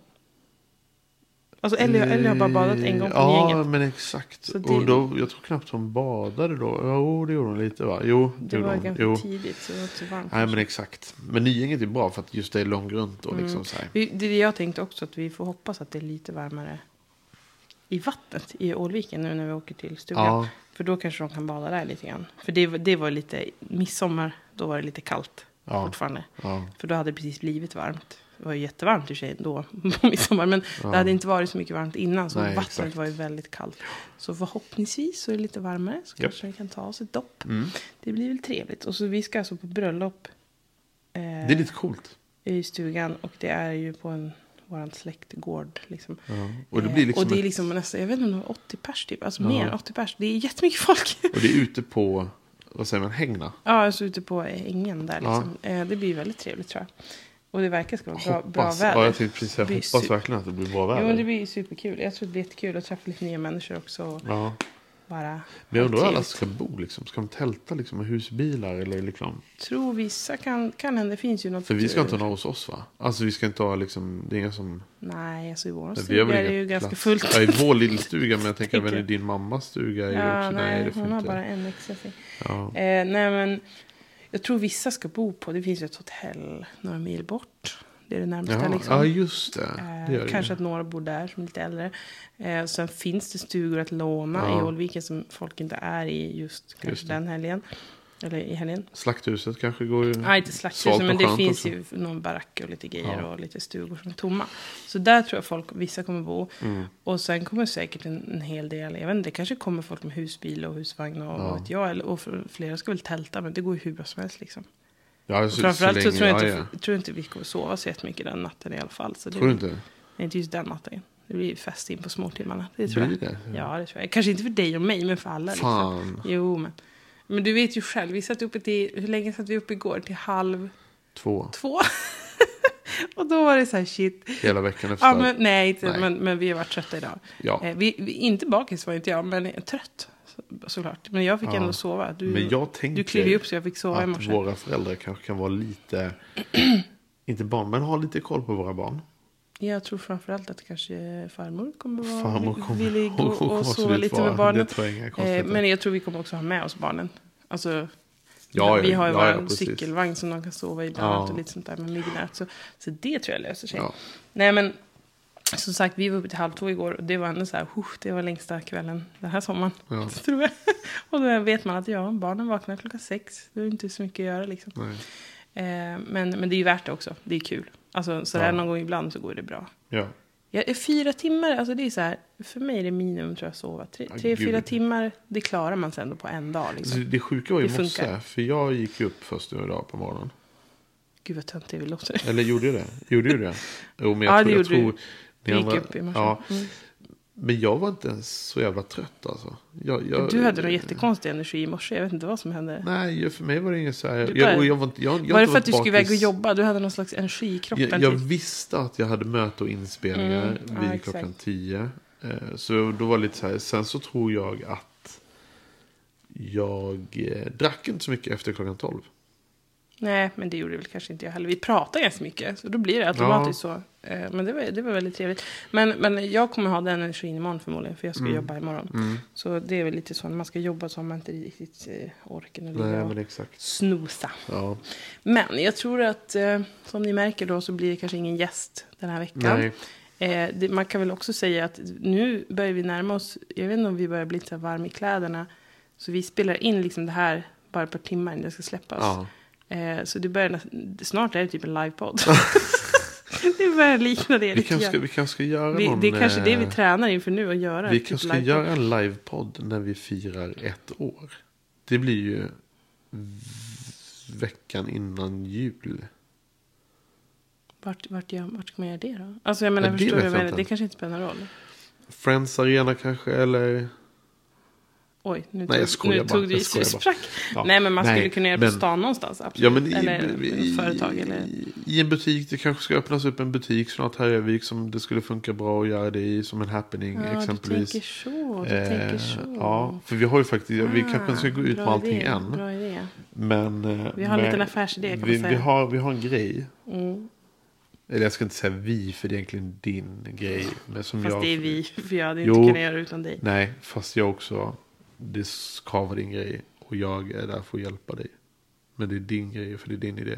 Speaker 2: Alltså Ellie, Ellie har bara badat en gång på
Speaker 1: Eh, Ja,
Speaker 2: gänget.
Speaker 1: men exakt.
Speaker 2: Så det-
Speaker 1: Och då, jag tror knappt hon badade då. Jo, det gjorde hon lite va? Jo, det,
Speaker 2: Det
Speaker 1: gjorde
Speaker 2: var
Speaker 1: hon.
Speaker 2: ganska
Speaker 1: Jo.
Speaker 2: tidigt så det var inte så varmt.
Speaker 1: Nej, men exakt. Men Nyinget är bra för att just det är långgrunt och liksom så här.
Speaker 2: Mm. Vi- Det är det jag tänkte också att vi får hoppas att det är lite varmare i vattnet i Ålviken nu när vi åker till stugan.
Speaker 1: Ja.
Speaker 2: För då kanske de kan bada där lite grann. För det, var- det var lite midsommar, då var det lite kallt.
Speaker 1: Ja.
Speaker 2: fortfarande.
Speaker 1: Ja.
Speaker 2: För då hade det precis blivit varmt. Det var ju jättevarmt i och för sig då på midsommar. Men det hade inte varit så mycket varmt innan. Så
Speaker 1: Nej,
Speaker 2: vattnet
Speaker 1: exakt.
Speaker 2: var ju väldigt kallt. Så förhoppningsvis så är det lite varmare. Så kanske vi kan ta oss ett dopp.
Speaker 1: Mm.
Speaker 2: Det blir väl trevligt. Och så vi ska alltså på bröllop eh,
Speaker 1: Det är lite coolt.
Speaker 2: i stugan. Och det är ju på en våran släktgård. Liksom.
Speaker 1: Och det
Speaker 2: Eh,
Speaker 1: blir liksom
Speaker 2: och det är
Speaker 1: ett-
Speaker 2: liksom nästan, jag vet inte om det var 80 pers typ. Alltså mer än 80 pers. Det är jättemycket folk.
Speaker 1: Och det är ute på, vad säger man, hängna.
Speaker 2: Ja, alltså ute på ängen där liksom. Eh, Det blir väldigt trevligt tror jag. Och det verkar ska vara bra, bra
Speaker 1: Hoppas-
Speaker 2: väder.
Speaker 1: Ja, jag tänkte precis säga,
Speaker 2: Det blir
Speaker 1: hoppas
Speaker 2: su-
Speaker 1: verkligen att det blir bra
Speaker 2: Jo, men det
Speaker 1: väder.
Speaker 2: blir ju superkul. Jag tror det blir jättekul att träffa lite nya människor också. Och
Speaker 1: Ja.
Speaker 2: bara
Speaker 1: Men jag undrar hur alla
Speaker 2: trevligt.
Speaker 1: ska bo liksom. Ska de tälta liksom med husbilar eller liksom?
Speaker 2: tror vissa kan, kan hända. Det finns ju något. eh,
Speaker 1: För vi ska inte ha hos oss va? Alltså vi ska inte ha liksom, det är inga som...
Speaker 2: Nej, alltså i vår
Speaker 1: vi har
Speaker 2: stuga
Speaker 1: väl
Speaker 2: är det
Speaker 1: inga
Speaker 2: ju ganska
Speaker 1: plats.
Speaker 2: fullt.
Speaker 1: Ja, i vår lilla stuga, men jag tänker
Speaker 2: Tänker
Speaker 1: även i
Speaker 2: jag.
Speaker 1: din mammas stuga. Är det
Speaker 2: Ja,
Speaker 1: också,
Speaker 2: nej,
Speaker 1: det får
Speaker 2: hon har
Speaker 1: inte.
Speaker 2: bara en extra säng.
Speaker 1: Ja.
Speaker 2: Eh, nej, men jag tror vissa ska bo på, det finns ju ett hotell några mil bort. Det är det närmsta
Speaker 1: Ja,
Speaker 2: liksom.
Speaker 1: ja, Ah, just det.
Speaker 2: Eh,
Speaker 1: det gör
Speaker 2: kanske
Speaker 1: kanske
Speaker 2: att några bor där som är lite äldre. Eh, sen finns det stugor att låna i Ålviken som folk inte är i just, kanske
Speaker 1: Just det.
Speaker 2: den helgen. Eller i helgen.
Speaker 1: Slakthuset kanske går ju...
Speaker 2: Nej, inte
Speaker 1: Svalt Mm.
Speaker 2: slakthuset,
Speaker 1: och
Speaker 2: men det
Speaker 1: skönt
Speaker 2: finns
Speaker 1: också.
Speaker 2: ju någon barack och lite grejer
Speaker 1: Ja.
Speaker 2: och lite stugor som är tomma. Så där tror jag folk, vissa kommer bo.
Speaker 1: Mm.
Speaker 2: Och sen kommer säkert en, en hel del, jag vet inte, det kanske kommer folk med husbil och husvagn och vad vet jag. Eller, och för- flera ska väl tälta, men det går ju hur bra som helst liksom.
Speaker 1: Ja,
Speaker 2: Och framförallt så, tror jag inte,
Speaker 1: ja, ja.
Speaker 2: tror jag inte vi kommer sova så jättemycket den natten i alla fall. Så det-
Speaker 1: Tror du inte?
Speaker 2: Nej, inte just den natten. Det blir ju fest in på småtimmarna. Det tror
Speaker 1: Blir
Speaker 2: jag.
Speaker 1: det?
Speaker 2: Ja, det tror jag. Kanske inte för dig och mig, men för alla.
Speaker 1: Fan.
Speaker 2: Liksom. Jo, men. Men du vet ju själv, vi satt uppe till, hur länge satt vi uppe igår? Till halv
Speaker 1: Två.
Speaker 2: två. och då var det så här shit.
Speaker 1: Hela veckan efter.
Speaker 2: Ja, men, nej, inte,
Speaker 1: Nej.
Speaker 2: Men, men vi har varit trötta idag.
Speaker 1: Ja.
Speaker 2: Eh, vi, vi, inte bakis var inte jag, men jag är trött så, såklart. Men jag fick ändå sova. Du,
Speaker 1: Men jag tänker
Speaker 2: du klev ju upp så jag fick sova i
Speaker 1: att
Speaker 2: morse.
Speaker 1: våra föräldrar kanske kan vara lite, inte barn, men ha lite koll på våra barn.
Speaker 2: Jag tror framförallt att kanske farmor kommer vara
Speaker 1: Farmor kommer-
Speaker 2: villig
Speaker 1: hon
Speaker 2: och,
Speaker 1: kommer
Speaker 2: och sova
Speaker 1: absolut
Speaker 2: lite
Speaker 1: vara-
Speaker 2: med barnen.
Speaker 1: det tror jag inga
Speaker 2: eh,
Speaker 1: konstigheter.
Speaker 2: men jag tror vi kommer också ha med oss barnen. Alltså,
Speaker 1: Ja, ja,
Speaker 2: vi har ju
Speaker 1: ja,
Speaker 2: vår
Speaker 1: ja, precis.
Speaker 2: cykelvagn som de kan sova i bland
Speaker 1: Ja.
Speaker 2: annat och lite sånt där med midnatt. Så, så det tror jag löser sig.
Speaker 1: Ja.
Speaker 2: Nej men som sagt, vi var uppe till halv två igår och det var ändå så här, "Huh, det var längsta kvällen den här sommaren.
Speaker 1: Ja.
Speaker 2: Tror jag. Och då vet man att ja, barnen vaknar klockan sex, det är inte så mycket att göra liksom.
Speaker 1: Nej.
Speaker 2: Eh, men, men det är ju värt det också, det är kul. Alltså sådär någon gång ibland så går det bra.
Speaker 1: Ja.
Speaker 2: Ja, eh, fyra timmar, alltså det är så här, för mig är det minimum tror jag sova. Tre,
Speaker 1: Ja,
Speaker 2: tre
Speaker 1: gud.
Speaker 2: fyra timmar, det klarar man sig ändå på en dag.
Speaker 1: Så
Speaker 2: Liksom.
Speaker 1: det sjuka var ju
Speaker 2: Det
Speaker 1: i morse,
Speaker 2: funkar.
Speaker 1: för jag gick ju upp först nu idag på morgonen.
Speaker 2: Gud vad töntig vi låter.
Speaker 1: Eller gjorde jag det? Gjorde jag det? Jo, men jag
Speaker 2: Ja,
Speaker 1: tror,
Speaker 2: det
Speaker 1: jag
Speaker 2: gjorde
Speaker 1: tror,
Speaker 2: du. Du gick upp i morse.
Speaker 1: Ja.
Speaker 2: Mm.
Speaker 1: Men jag var inte ens så jävla trött alltså. Jag, jag,
Speaker 2: Du hade nog jättekonstig energi i morse, jag vet inte vad som hände.
Speaker 1: Nej, ju- för mig var det inget så här.
Speaker 2: Du
Speaker 1: Jag,
Speaker 2: bara-
Speaker 1: och jag var, inte- jag, jag har
Speaker 2: var det
Speaker 1: inte
Speaker 2: för att du
Speaker 1: varit
Speaker 2: skulle
Speaker 1: bakis.
Speaker 2: iväg och jobba? Du hade någon slags energi i kroppen?
Speaker 1: Jag, jag
Speaker 2: typ. Mm.
Speaker 1: visste att jag hade möte och inspelningar
Speaker 2: ja,
Speaker 1: vid
Speaker 2: exakt.
Speaker 1: klockan tio. Eh, Så då var det lite så här. Sen så tror jag att jag eh, drack inte så mycket efter klockan tolv.
Speaker 2: Nej, men det gjorde väl kanske inte jag heller. Vi pratar ganska mycket, så då blir det automatiskt så. Eh, Men det var, det var väldigt trevligt. Men, men jag kommer ha den energin imorgon förmodligen, för jag ska
Speaker 1: Mm.
Speaker 2: jobba imorgon. Så det är väl lite så, när man ska jobba så har man inte riktigt eh, orken att ligga
Speaker 1: Nej,
Speaker 2: och
Speaker 1: men exakt.
Speaker 2: snosa.
Speaker 1: Ja.
Speaker 2: Men jag tror att, eh, som ni märker då, så blir det kanske ingen gäst den här veckan. Eh, det, man kan väl också säga att nu börjar vi närma oss, jag vet inte om vi börjar bli lite varm i kläderna. Så vi spelar in liksom det här bara ett par timmar innan det ska släppas.
Speaker 1: Ja.
Speaker 2: Eh, så det börjar, nä- snart är det typ en livepodd. det börjar likna det
Speaker 1: Vi
Speaker 2: lite
Speaker 1: kanske
Speaker 2: grann.
Speaker 1: ska, vi kanske ska göra
Speaker 2: Vi,
Speaker 1: någon...
Speaker 2: det är kanske det vi
Speaker 1: eh,
Speaker 2: tränar inför nu att göra.
Speaker 1: Vi
Speaker 2: typ
Speaker 1: kanske ska
Speaker 2: livepodd.
Speaker 1: göra en livepodd när vi firar ett år. Det blir ju v- veckan innan jul.
Speaker 2: Vart, vart, gör- vart ska man göra det då? Alltså jag menar,
Speaker 1: Ja, det
Speaker 2: förstår
Speaker 1: vet
Speaker 2: du? vad
Speaker 1: jag
Speaker 2: jag menar?
Speaker 1: inte.
Speaker 2: Det kanske inte spelar någon roll.
Speaker 1: Friends Arena kanske, eller...
Speaker 2: Oj, nu
Speaker 1: jag
Speaker 2: tog,
Speaker 1: skojar
Speaker 2: nu
Speaker 1: bara.
Speaker 2: tog du
Speaker 1: Jag
Speaker 2: i så
Speaker 1: skojar
Speaker 2: det
Speaker 1: bara.
Speaker 2: sprack.
Speaker 1: Ja.
Speaker 2: Nej, men man
Speaker 1: Nej,
Speaker 2: skulle kunna göra det på
Speaker 1: men-
Speaker 2: stan någonstans. Absolut.
Speaker 1: Ja, men i,
Speaker 2: eller
Speaker 1: i,
Speaker 2: företag. Eller...
Speaker 1: i, i en butik, det kanske ska öppnas upp en butik snart här i Övik som det skulle funka bra att göra det i som en happening
Speaker 2: Ja,
Speaker 1: exempelvis. eh,
Speaker 2: du tänker så. Du tänker så. Ah,
Speaker 1: Ja, för vi har ju faktiskt, vi kanske inte ska gå ut
Speaker 2: Bra
Speaker 1: med allting
Speaker 2: idé,
Speaker 1: än.
Speaker 2: Bra idé.
Speaker 1: Men, eh,
Speaker 2: Vi har en
Speaker 1: men-
Speaker 2: liten affärsidé, kan man
Speaker 1: vi,
Speaker 2: säga. Mm.
Speaker 1: Vi har, vi har en grej. Eller jag ska inte säga vi, för det är egentligen din grej. Men som
Speaker 2: Fast
Speaker 1: jag,
Speaker 2: det är vi, för jag hade
Speaker 1: Jo.
Speaker 2: inte kunnat göra det utan dig.
Speaker 1: Nej, fast jag också. Det ska vara din grej. Och jag är där för att hjälpa dig. Men det är din grej, för det är din idé.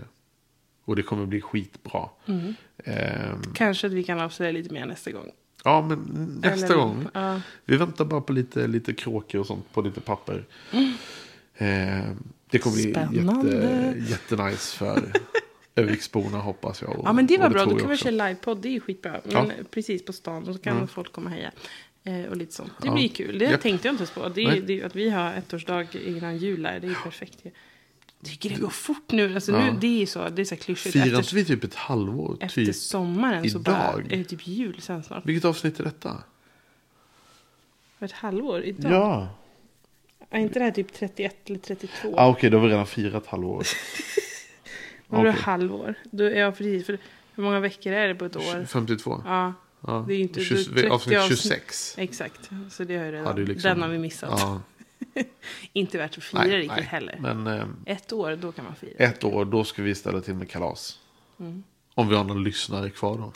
Speaker 1: Och det kommer bli skitbra.
Speaker 2: Mm.
Speaker 1: Ehm,
Speaker 2: Kanske att vi kan avslöja lite mer nästa gång.
Speaker 1: ja, men nästa
Speaker 2: Eller-
Speaker 1: gång.
Speaker 2: ja.
Speaker 1: Vi väntar bara på lite, lite kråkor och sånt på lite papper. Ehm, Det kommer bli
Speaker 2: Spännande.
Speaker 1: jätte, jättenice för Öviksborna hoppas jag. och-
Speaker 2: Ja, men det var
Speaker 1: och
Speaker 2: bra.
Speaker 1: tror
Speaker 2: Då kan
Speaker 1: jag
Speaker 2: vi
Speaker 1: också. Mm.
Speaker 2: köra livepodd. Det är ju skitbra. Men Precis på stan. Och så kan folk komma och heja. Eh, och lite sånt. Det blir kul. Det
Speaker 1: Japp.
Speaker 2: tänkte jag inte ens på. Det
Speaker 1: Nej.
Speaker 2: är, det är ju att vi har ettårsdag innan jul här. Det är ju perfekt. ju. Jag tycker det går fort nu. Alltså, nu det är ju så, det är så här klyschigt.
Speaker 1: Firar inte
Speaker 2: Efter,
Speaker 1: vi typ ett halvår?
Speaker 2: efter
Speaker 1: typ
Speaker 2: sommaren så bara
Speaker 1: idag?
Speaker 2: är det typ jul sen snart.
Speaker 1: Vilket avsnitt är detta?
Speaker 2: För ett halvår idag. Är inte det här typ 31 eller 32?
Speaker 1: Ah, Okej, då har vi redan firat halvår.
Speaker 2: Om du är
Speaker 1: okej.
Speaker 2: halvår. Då är jag precis. För hur många veckor är det på ett år?
Speaker 1: 52?
Speaker 2: Ja.
Speaker 1: Ja.
Speaker 2: Det är ju inte...
Speaker 1: Tjus-
Speaker 2: du- 30
Speaker 1: avsnitt
Speaker 2: avsnitt.
Speaker 1: 26.
Speaker 2: Exakt. Så det har ju redan...
Speaker 1: Hade ju liksom-
Speaker 2: Den har vi missat.
Speaker 1: Ja,
Speaker 2: Inte värt att fira
Speaker 1: nej,
Speaker 2: riktigt
Speaker 1: nej.
Speaker 2: heller.
Speaker 1: Men eh,
Speaker 2: Ett år, då kan man fira.
Speaker 1: ett år, då ska vi ställa till med kalas.
Speaker 2: Mm.
Speaker 1: Om vi har någon lyssnare kvar då.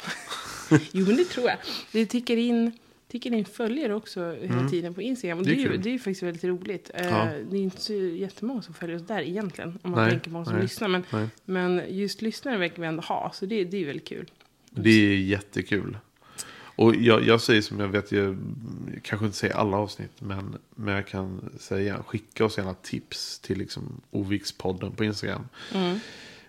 Speaker 2: Jo, men det tror jag. Det tickar in, tickar in följare också hela tiden på Instagram. Och
Speaker 1: Mm. Det
Speaker 2: det,
Speaker 1: är
Speaker 2: är ju,
Speaker 1: kul.
Speaker 2: det är ju faktiskt väldigt roligt. Eh,
Speaker 1: Ja.
Speaker 2: Det är inte så jättemånga som följer oss där egentligen. Om man
Speaker 1: Nej,
Speaker 2: tänker på många som
Speaker 1: nej,
Speaker 2: lyssnar. Men,
Speaker 1: nej.
Speaker 2: men just lyssnare verkar vi ändå ha. Så det, det är väldigt kul.
Speaker 1: Det är jättekul. Och jag, jag säger som jag vet, jag kanske inte säger alla avsnitt, men, men jag kan säga, skicka oss gärna tips till liksom Ovikspodden på Instagram.
Speaker 2: Mm.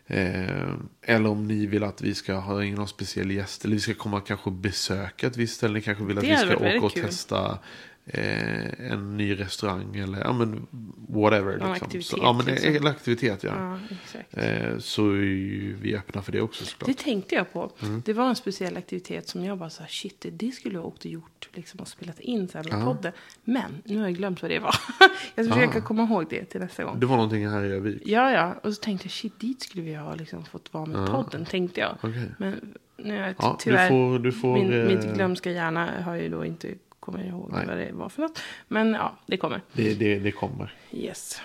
Speaker 1: Eh, eller om ni vill att vi ska ha in någon speciell gäst, eller vi ska komma och kanske besöka ett visst ställe, ni kanske vill att
Speaker 2: Det
Speaker 1: vi
Speaker 2: hade
Speaker 1: ska
Speaker 2: varit
Speaker 1: åka
Speaker 2: väldigt
Speaker 1: och
Speaker 2: kul.
Speaker 1: testa eh, en ny restaurang eller ja, men whatever.
Speaker 2: Någon
Speaker 1: liksom.
Speaker 2: aktivitet,
Speaker 1: Så, ja, men
Speaker 2: liksom.
Speaker 1: en aktivitet ja.
Speaker 2: Ja, exakt.
Speaker 1: Eh, så är ju vi öppna för det också såklart.
Speaker 2: Det tänkte jag på.
Speaker 1: Mm.
Speaker 2: Det var en speciell aktivitet som jag bara sa, shit, det- det skulle jag åkt och gjort liksom, och spelat in sen med podden. Men nu har jag glömt vad det var. jag ska försöka komma ihåg det till nästa gång.
Speaker 1: Det var någonting här i Övik.
Speaker 2: Ja, ja. Och så tänkte jag, shit, dit skulle vi ha liksom, fått vara med podden, tänkte jag.
Speaker 1: Okej.
Speaker 2: Men nu är jag
Speaker 1: Ja, du
Speaker 2: tyvärr,
Speaker 1: får- du får,
Speaker 2: min,
Speaker 1: eh,
Speaker 2: min glömska hjärna har ju då inte kommit ihåg
Speaker 1: Nej.
Speaker 2: vad det var för något. Men ja, det kommer.
Speaker 1: Det, det, det kommer.
Speaker 2: Yes.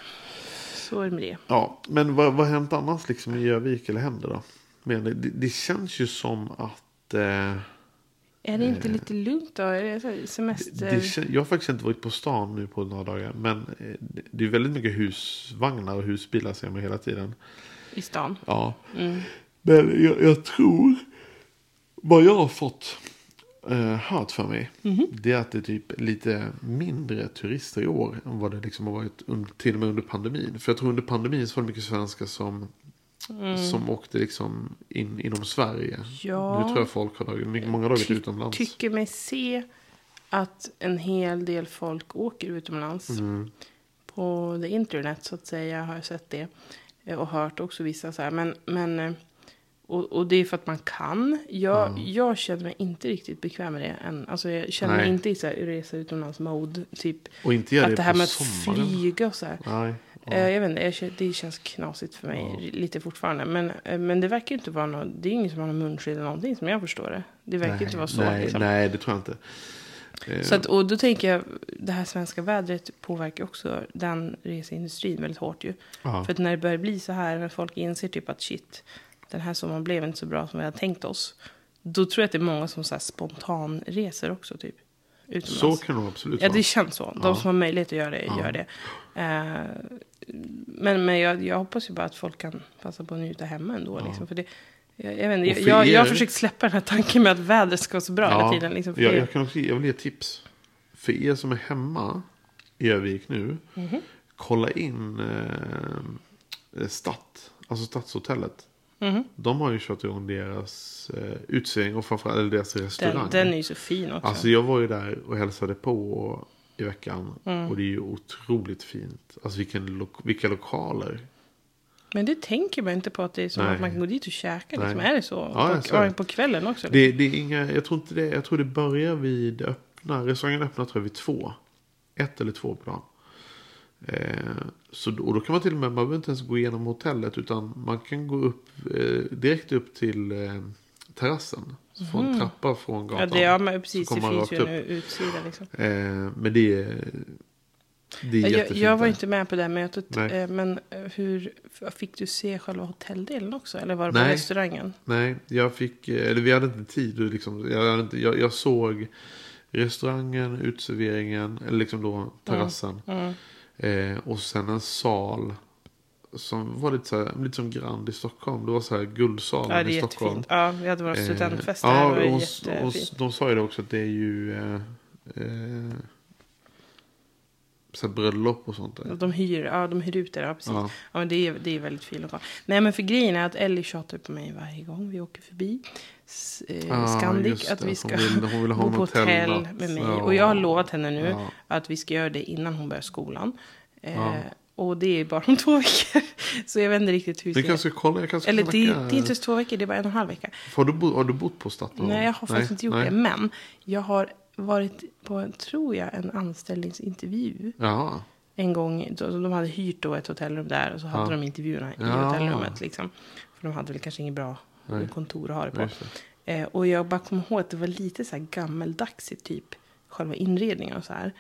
Speaker 2: Så är det med det.
Speaker 1: Ja, men vad vad har hänt annars liksom i Övik eller händer då? Men det, det känns ju som att... Eh,
Speaker 2: Är det inte lite lugnt då? Är det så här semester?
Speaker 1: det, kän- jag har faktiskt inte varit på stan nu på några dagar. Men eh, det, det är väldigt mycket husvagnar och husbilar ser man hela tiden.
Speaker 2: I stan?
Speaker 1: Ja. Mm. Men jag, jag tror... Vad jag har fått eh, hört för mig.
Speaker 2: Mhm.
Speaker 1: Det är att det är typ lite mindre turister i år. Än vad det liksom har varit un- till och med under pandemin. För jag tror under pandemin så var det mycket svenskar som... Som åkte liksom in inom Sverige.
Speaker 2: Mm. Ja.
Speaker 1: Nu tror jag folk har dragit, mycket- många har dragit utomlands.
Speaker 2: Tycker mig se att en hel del folk åker utomlands.
Speaker 1: Mm.
Speaker 2: På det internet så att säga har jag sett det. Eh, Och hört också vissa så här. Men, men, eh, och, och det är för att man kan. Jag, jag känner mig inte riktigt bekväm med det än. Alltså jag känner
Speaker 1: Nej.
Speaker 2: mig inte i så här resa utomlands-mode. Typ.
Speaker 1: Och inte gör
Speaker 2: att
Speaker 1: det
Speaker 2: det, här
Speaker 1: på
Speaker 2: med
Speaker 1: sommaren.
Speaker 2: att flyga och så här.
Speaker 1: Nej. Ja.
Speaker 2: Eh, Jag vet inte, jag känner, det känns knasigt för mig lite fortfarande. Men, eh, men det verkar ju inte vara något, det är ingen som har någon munskydd eller någonting som jag förstår det. Det verkar ju inte vara så.
Speaker 1: nej,
Speaker 2: liksom.
Speaker 1: nej, det tror jag inte. Eh,
Speaker 2: Så att, och då tänker jag, det här svenska vädret påverkar också den reseindustrin väldigt hårt ju.
Speaker 1: Ja.
Speaker 2: För att när det börjar bli så här, när folk inser typ att shit, den här sommaren blev inte så bra som vi hade tänkt oss. Då tror jag att det är många som så här spontanreser också typ. Utomlands.
Speaker 1: så kan det nog absolut
Speaker 2: Ja,
Speaker 1: vara.
Speaker 2: det känns så. De som har möjlighet att göra det, gör det. Eh, men men jag, jag hoppas ju bara att folk kan passa på att njuta hemma ändå. Liksom, för det, jag, jag, vet
Speaker 1: Och
Speaker 2: inte,
Speaker 1: för
Speaker 2: jag, jag, jag har
Speaker 1: er-
Speaker 2: försökt släppa den här tanken med att vädret ska vara så bra hela tiden. Liksom, för
Speaker 1: jag,
Speaker 2: det-
Speaker 1: jag, kan också, ge- jag vill ge ett tips. För er som är hemma i Övik nu.
Speaker 2: Mhm.
Speaker 1: Kolla in eh, Statt. Alltså Stadshotellet.
Speaker 2: Mhm.
Speaker 1: De har ju kört igång deras eh, utsering och framförallt eller deras restaurang.
Speaker 2: den, den är ju så fin också.
Speaker 1: Alltså jag var ju där och hälsade på i veckan.
Speaker 2: Mm.
Speaker 1: Och det är ju otroligt fint. Alltså vilken lo- vilka lokaler.
Speaker 2: men det tänker man inte på att det är som
Speaker 1: Nej.
Speaker 2: att man kan gå dit och käka. Liksom.
Speaker 1: Nej.
Speaker 2: Är det så?
Speaker 1: Ja, jag
Speaker 2: på,
Speaker 1: ser det.
Speaker 2: ja, på kvällen också?
Speaker 1: Det, det är inga, jag tror inte det. Jag tror det börjar vid öppna. Restaurangen öppnar tror jag vid två. Ett eller två på dagen. Eh, så, då- och då kan man till och med, man behöver inte ens gå igenom hotellet. Utan man kan gå upp eh, direkt upp till eh, terrassen. Så får en trappa från
Speaker 2: Mm. liksom. ja,
Speaker 1: gatan.
Speaker 2: det, ja, men precis.
Speaker 1: Så
Speaker 2: Det
Speaker 1: kommer man
Speaker 2: finns ju
Speaker 1: rakt
Speaker 2: en
Speaker 1: upp.
Speaker 2: utsida liksom.
Speaker 1: Eh, men det är, det är
Speaker 2: Jag,
Speaker 1: jättefint.
Speaker 2: jag var
Speaker 1: där.
Speaker 2: inte med på det här mötet.
Speaker 1: Nej.
Speaker 2: eh, Men eh, hur fick du se själva hotelldelen också? Eller var det
Speaker 1: Nej.
Speaker 2: på restaurangen?
Speaker 1: Nej, jag fick, eh, eller vi hade inte tid. och Liksom, jag, hade inte, jag, jag såg restaurangen, utserveringen, eller liksom då terrassen.
Speaker 2: Mm,
Speaker 1: Eh, och sen en sal som var lite, så här, lite som Grand i Stockholm. Det var så här
Speaker 2: Ja,
Speaker 1: Guldsalen
Speaker 2: det
Speaker 1: i
Speaker 2: är
Speaker 1: Stockholm.
Speaker 2: jättefint. Ja, vi hade vår
Speaker 1: Eh,
Speaker 2: studentfest
Speaker 1: ja,
Speaker 2: där. det var
Speaker 1: och,
Speaker 2: jättefint.
Speaker 1: och, de sa ju det också att det är ju eh, eh, så här bröllop och sånt där.
Speaker 2: De hyr, ja, de hyr ut det, ja precis.
Speaker 1: Ja.
Speaker 2: Ja. men det, är, det är väldigt fin lokal. Nej men för grejen är att Ellie tjatar på mig varje gång vi åker förbi S- eh,
Speaker 1: Ah,
Speaker 2: Scandic.
Speaker 1: just
Speaker 2: Att
Speaker 1: det.
Speaker 2: vi
Speaker 1: Hon
Speaker 2: ska
Speaker 1: vill- hon vill ha
Speaker 2: bo
Speaker 1: en
Speaker 2: på hotell,
Speaker 1: hotellnatt.
Speaker 2: med mig.
Speaker 1: Ja.
Speaker 2: Och jag har lovat henne nu
Speaker 1: Ja.
Speaker 2: att vi ska göra det innan hon börjar skolan. Eh, Och det är bara om två veckor. Så jag vet inte riktigt hur
Speaker 1: Vi
Speaker 2: ska-
Speaker 1: kanske kollar, jag kanske
Speaker 2: Eller
Speaker 1: kan
Speaker 2: det, det
Speaker 1: knacka-
Speaker 2: är inte ens två veckor, det är bara en och en halv vecka.
Speaker 1: Har du, bo, har du bott på Statoil?
Speaker 2: Nej, jag har faktiskt inte gjort
Speaker 1: Mm. nej.
Speaker 2: det. Men jag har varit på, tror jag, en anställningsintervju
Speaker 1: Ja,
Speaker 2: en gång, då- de hade hyrt då ett hotellrum där och så hade de intervjuerna i
Speaker 1: Ja.
Speaker 2: hotellrummet. Liksom. För de hade väl kanske inget bra kontor att ha det på.
Speaker 1: Just
Speaker 2: Eh, och jag bara kommer ihåg att det var lite så här gammeldags i typ själva inredningen och så här.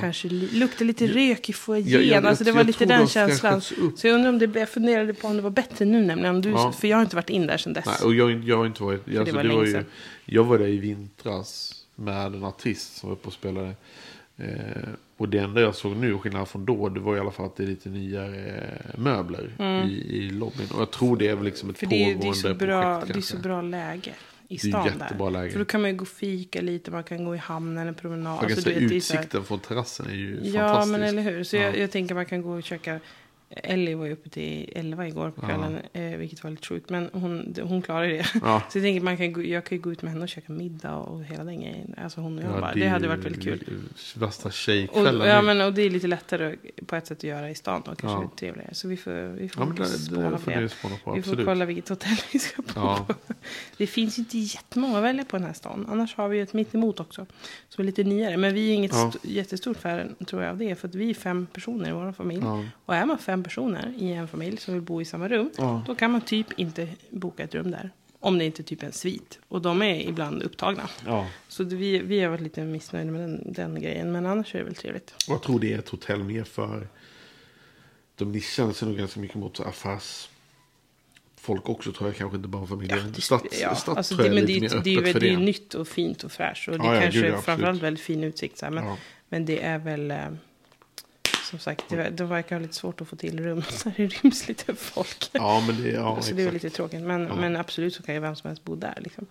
Speaker 2: Kanske li- luktade lite rök i foajén.
Speaker 1: Ja, jag-
Speaker 2: alltså det
Speaker 1: jag-
Speaker 2: var
Speaker 1: jag
Speaker 2: lite
Speaker 1: tror
Speaker 2: den
Speaker 1: de ska
Speaker 2: känslan.
Speaker 1: skjuts upp.
Speaker 2: Så jag undrar om det, jag funderade på om det var bättre nu nämligen. Om du,
Speaker 1: Ja.
Speaker 2: För jag har inte varit in där sedan dess.
Speaker 1: nej, och jag, har inte- jag har inte varit... Jag, alltså,
Speaker 2: var
Speaker 1: det var
Speaker 2: länge
Speaker 1: ju,
Speaker 2: sedan.
Speaker 1: jag var där i vintras med en artist som var uppe och spelade. Eh, och det enda jag såg nu, skillnad från då, det var i alla fall att det är lite nyare möbler i, i lobbyn. Och jag tror det är väl liksom ett
Speaker 2: Mm. För det är, det, är
Speaker 1: pågående
Speaker 2: så bra,
Speaker 1: projekt
Speaker 2: det är
Speaker 1: kanske.
Speaker 2: så bra läge i
Speaker 1: Det är
Speaker 2: stan
Speaker 1: jättebra
Speaker 2: där.
Speaker 1: läge.
Speaker 2: För då kan man ju gå och fika lite, man kan gå i hamnen, en promenad.
Speaker 1: Man kan
Speaker 2: Alltså,
Speaker 1: säga,
Speaker 2: du vet, det är så här-
Speaker 1: utsikten från terrassen är ju
Speaker 2: Ja,
Speaker 1: fantastisk.
Speaker 2: men eller hur. Så jag,
Speaker 1: Ja.
Speaker 2: jag tänker man kan gå och käka. Ellie var ju uppe till 11 igår på kvällen, eh, vilket var lite sjukt. Men hon, hon klarar det.
Speaker 1: Ja.
Speaker 2: Så jag tänker man kan, gå- jag kan ju gå ut med henne och käka middag och hela den grejen. Alltså hon och jag
Speaker 1: Ja,
Speaker 2: bara.
Speaker 1: är
Speaker 2: Det, hade
Speaker 1: ju
Speaker 2: varit väldigt kul.
Speaker 1: Värsta
Speaker 2: Och,
Speaker 1: tjejkvällen.
Speaker 2: ja,
Speaker 1: nu.
Speaker 2: men, och det är lite lättare på ett sätt att göra i stan och kanske
Speaker 1: Ja.
Speaker 2: lite trevligare. Så vi får, vi får
Speaker 1: Ja, men det- det
Speaker 2: spåna på
Speaker 1: får
Speaker 2: det.
Speaker 1: ni spåna på,
Speaker 2: vi får
Speaker 1: absolut.
Speaker 2: kolla vilket hotell vi ska bo
Speaker 1: Ja.
Speaker 2: på. Det finns ju inte jättemånga att välja på den här stan. Annars har vi ju ett mittemot också. Som är lite nyare. Men vi är inget
Speaker 1: Ja.
Speaker 2: st- jättestort fan tror jag av det. För att vi är fem personer i vår familj.
Speaker 1: Ja.
Speaker 2: Och är man fem personer i en familj som vill bo i samma rum. Då kan man typ inte boka ett rum där. Om det inte är typ en svit. Och de är ibland upptagna.
Speaker 1: Ja.
Speaker 2: Så det- vi, vi har varit lite missnöjda med den, den grejen. Men annars är det väl trevligt.
Speaker 1: Och jag tror det är ett hotell mer för... De nischade sig nog ganska mycket mot så affärsfolk också tror jag. Kanske inte bara familjen. Ja, Stads,
Speaker 2: ja,
Speaker 1: stads
Speaker 2: alltså
Speaker 1: tror
Speaker 2: det,
Speaker 1: jag
Speaker 2: men
Speaker 1: är lite
Speaker 2: det, är ju-
Speaker 1: mer
Speaker 2: det, är ju-
Speaker 1: öppet för
Speaker 2: det är ju
Speaker 1: det.
Speaker 2: nytt och fint och fräscht. Och det
Speaker 1: Ja, ja,
Speaker 2: kanske
Speaker 1: gud, ja,
Speaker 2: är
Speaker 1: absolut.
Speaker 2: framförallt väldigt fin utsikt. Så här, men,
Speaker 1: Ja.
Speaker 2: men det är väl... eh, Som sagt, det, de verkar ha lite svårt att få till rum när det ryms lite folk.
Speaker 1: Ja, men det, ja,
Speaker 2: så Alltså, det är väl
Speaker 1: exakt.
Speaker 2: lite tråkigt. Men, men absolut så kan ju vem som helst bo där. Liksom.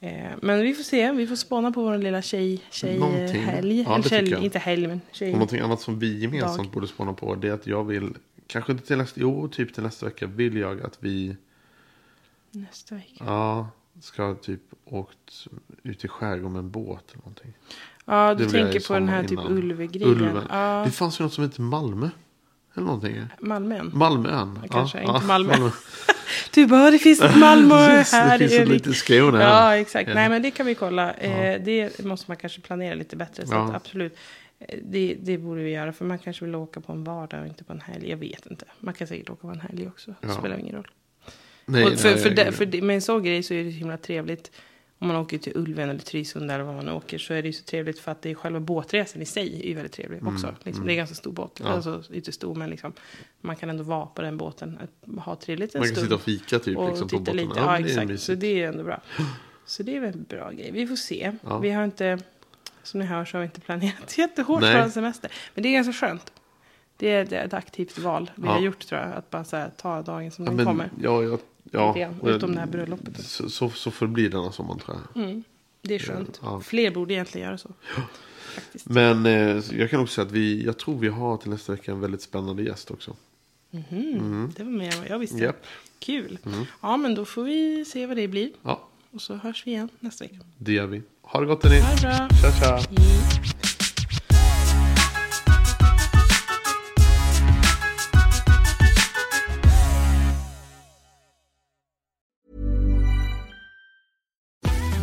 Speaker 2: Eh, men vi får se. Vi får spana på vår lilla tjej,
Speaker 1: Någonting.
Speaker 2: tjejhelg.
Speaker 1: Ja, det
Speaker 2: Eller
Speaker 1: tycker
Speaker 2: tjej,
Speaker 1: jag.
Speaker 2: inte helg, men tjej.
Speaker 1: Och någonting annat som vi gemensamt
Speaker 2: Dag.
Speaker 1: borde spåna på. Det är att jag vill. Kanske inte till nästa. Jo, typ till nästa vecka vill jag att vi.
Speaker 2: Nästa vecka.
Speaker 1: Ja. Ska ha typ åkt ut i skärgården med en båt eller någonting.
Speaker 2: Ja, du
Speaker 1: Det blir i
Speaker 2: tänker på den här
Speaker 1: sommar
Speaker 2: typ
Speaker 1: innan.
Speaker 2: Ulvegrejen.
Speaker 1: Ulven.
Speaker 2: Ja,
Speaker 1: Det fanns ju något som hette Malmö. Eller någonting.
Speaker 2: Malmön.
Speaker 1: Malmöön.
Speaker 2: Kanske, inte Malmö.
Speaker 1: Malmö.
Speaker 2: Du bara, det finns ett Malmö
Speaker 1: Precis, det
Speaker 2: här.
Speaker 1: finns ett
Speaker 2: Erik.
Speaker 1: litet Skåne här.
Speaker 2: Ja, exakt. Nej,
Speaker 1: Eller-
Speaker 2: men det kan vi kolla. Eh, Det måste man kanske planera lite bättre. Så
Speaker 1: Ja.
Speaker 2: att absolut. Eh, Det, det borde vi göra. För man kanske vill åka på en vardag och inte på en helg. Jag vet inte. Man kan säkert åka på en helg också. Det
Speaker 1: Ja.
Speaker 2: spelar ingen roll.
Speaker 1: Nej,
Speaker 2: och för,
Speaker 1: nej,
Speaker 2: för,
Speaker 1: jag-
Speaker 2: det, för det, med en sån grej så är det så himla trevligt. Om man åker till Ulven eller Trysunda eller var man åker så är det ju så trevligt för att det är själva båtresan i sig är ju väldigt trevlig
Speaker 1: Mm,
Speaker 2: också. Liksom, Det är en ganska stor båt. Alltså inte stor men liksom, man kan ändå vara på den båten. Att ha trevligt en
Speaker 1: Man kan
Speaker 2: stund.
Speaker 1: sitta och fika typ
Speaker 2: och
Speaker 1: liksom, på
Speaker 2: titta
Speaker 1: båten.
Speaker 2: lite.
Speaker 1: Ja,
Speaker 2: Ja,
Speaker 1: men det är
Speaker 2: exakt.
Speaker 1: mysigt.
Speaker 2: så det är ändå bra. Så det är väl en bra grej. Vi får se.
Speaker 1: Ja.
Speaker 2: Vi har inte, som ni hör så har vi inte planerat jättehårt
Speaker 1: Nej.
Speaker 2: för en semester. Men det är ganska skönt. Det är det är ett aktivt val vi
Speaker 1: Ja.
Speaker 2: har gjort tror jag. Att bara så här, ta dagen som
Speaker 1: ja,
Speaker 2: den
Speaker 1: men,
Speaker 2: kommer.
Speaker 1: Ja, ja,
Speaker 2: Lite
Speaker 1: ja.
Speaker 2: grann,
Speaker 1: Och jag-
Speaker 2: utom det här Mm. bröllopet.
Speaker 1: Så, så, så förblir denna sommaren tror jag.
Speaker 2: Det är skönt.
Speaker 1: Ja.
Speaker 2: Fler borde egentligen göra så.
Speaker 1: Men eh, jag kan också säga att vi, jag tror vi har till nästa vecka en väldigt spännande gäst också.
Speaker 2: Det var mer än vad jag visste.
Speaker 1: Japp. Mm.
Speaker 2: Kul. Ja, men då får vi se vad det blir.
Speaker 1: Ja,
Speaker 2: Och så hörs vi igen nästa vecka.
Speaker 1: det gör vi. Ha det gott hörni.
Speaker 2: Ha det bra.
Speaker 1: Ciao, ciao.
Speaker 2: Hej.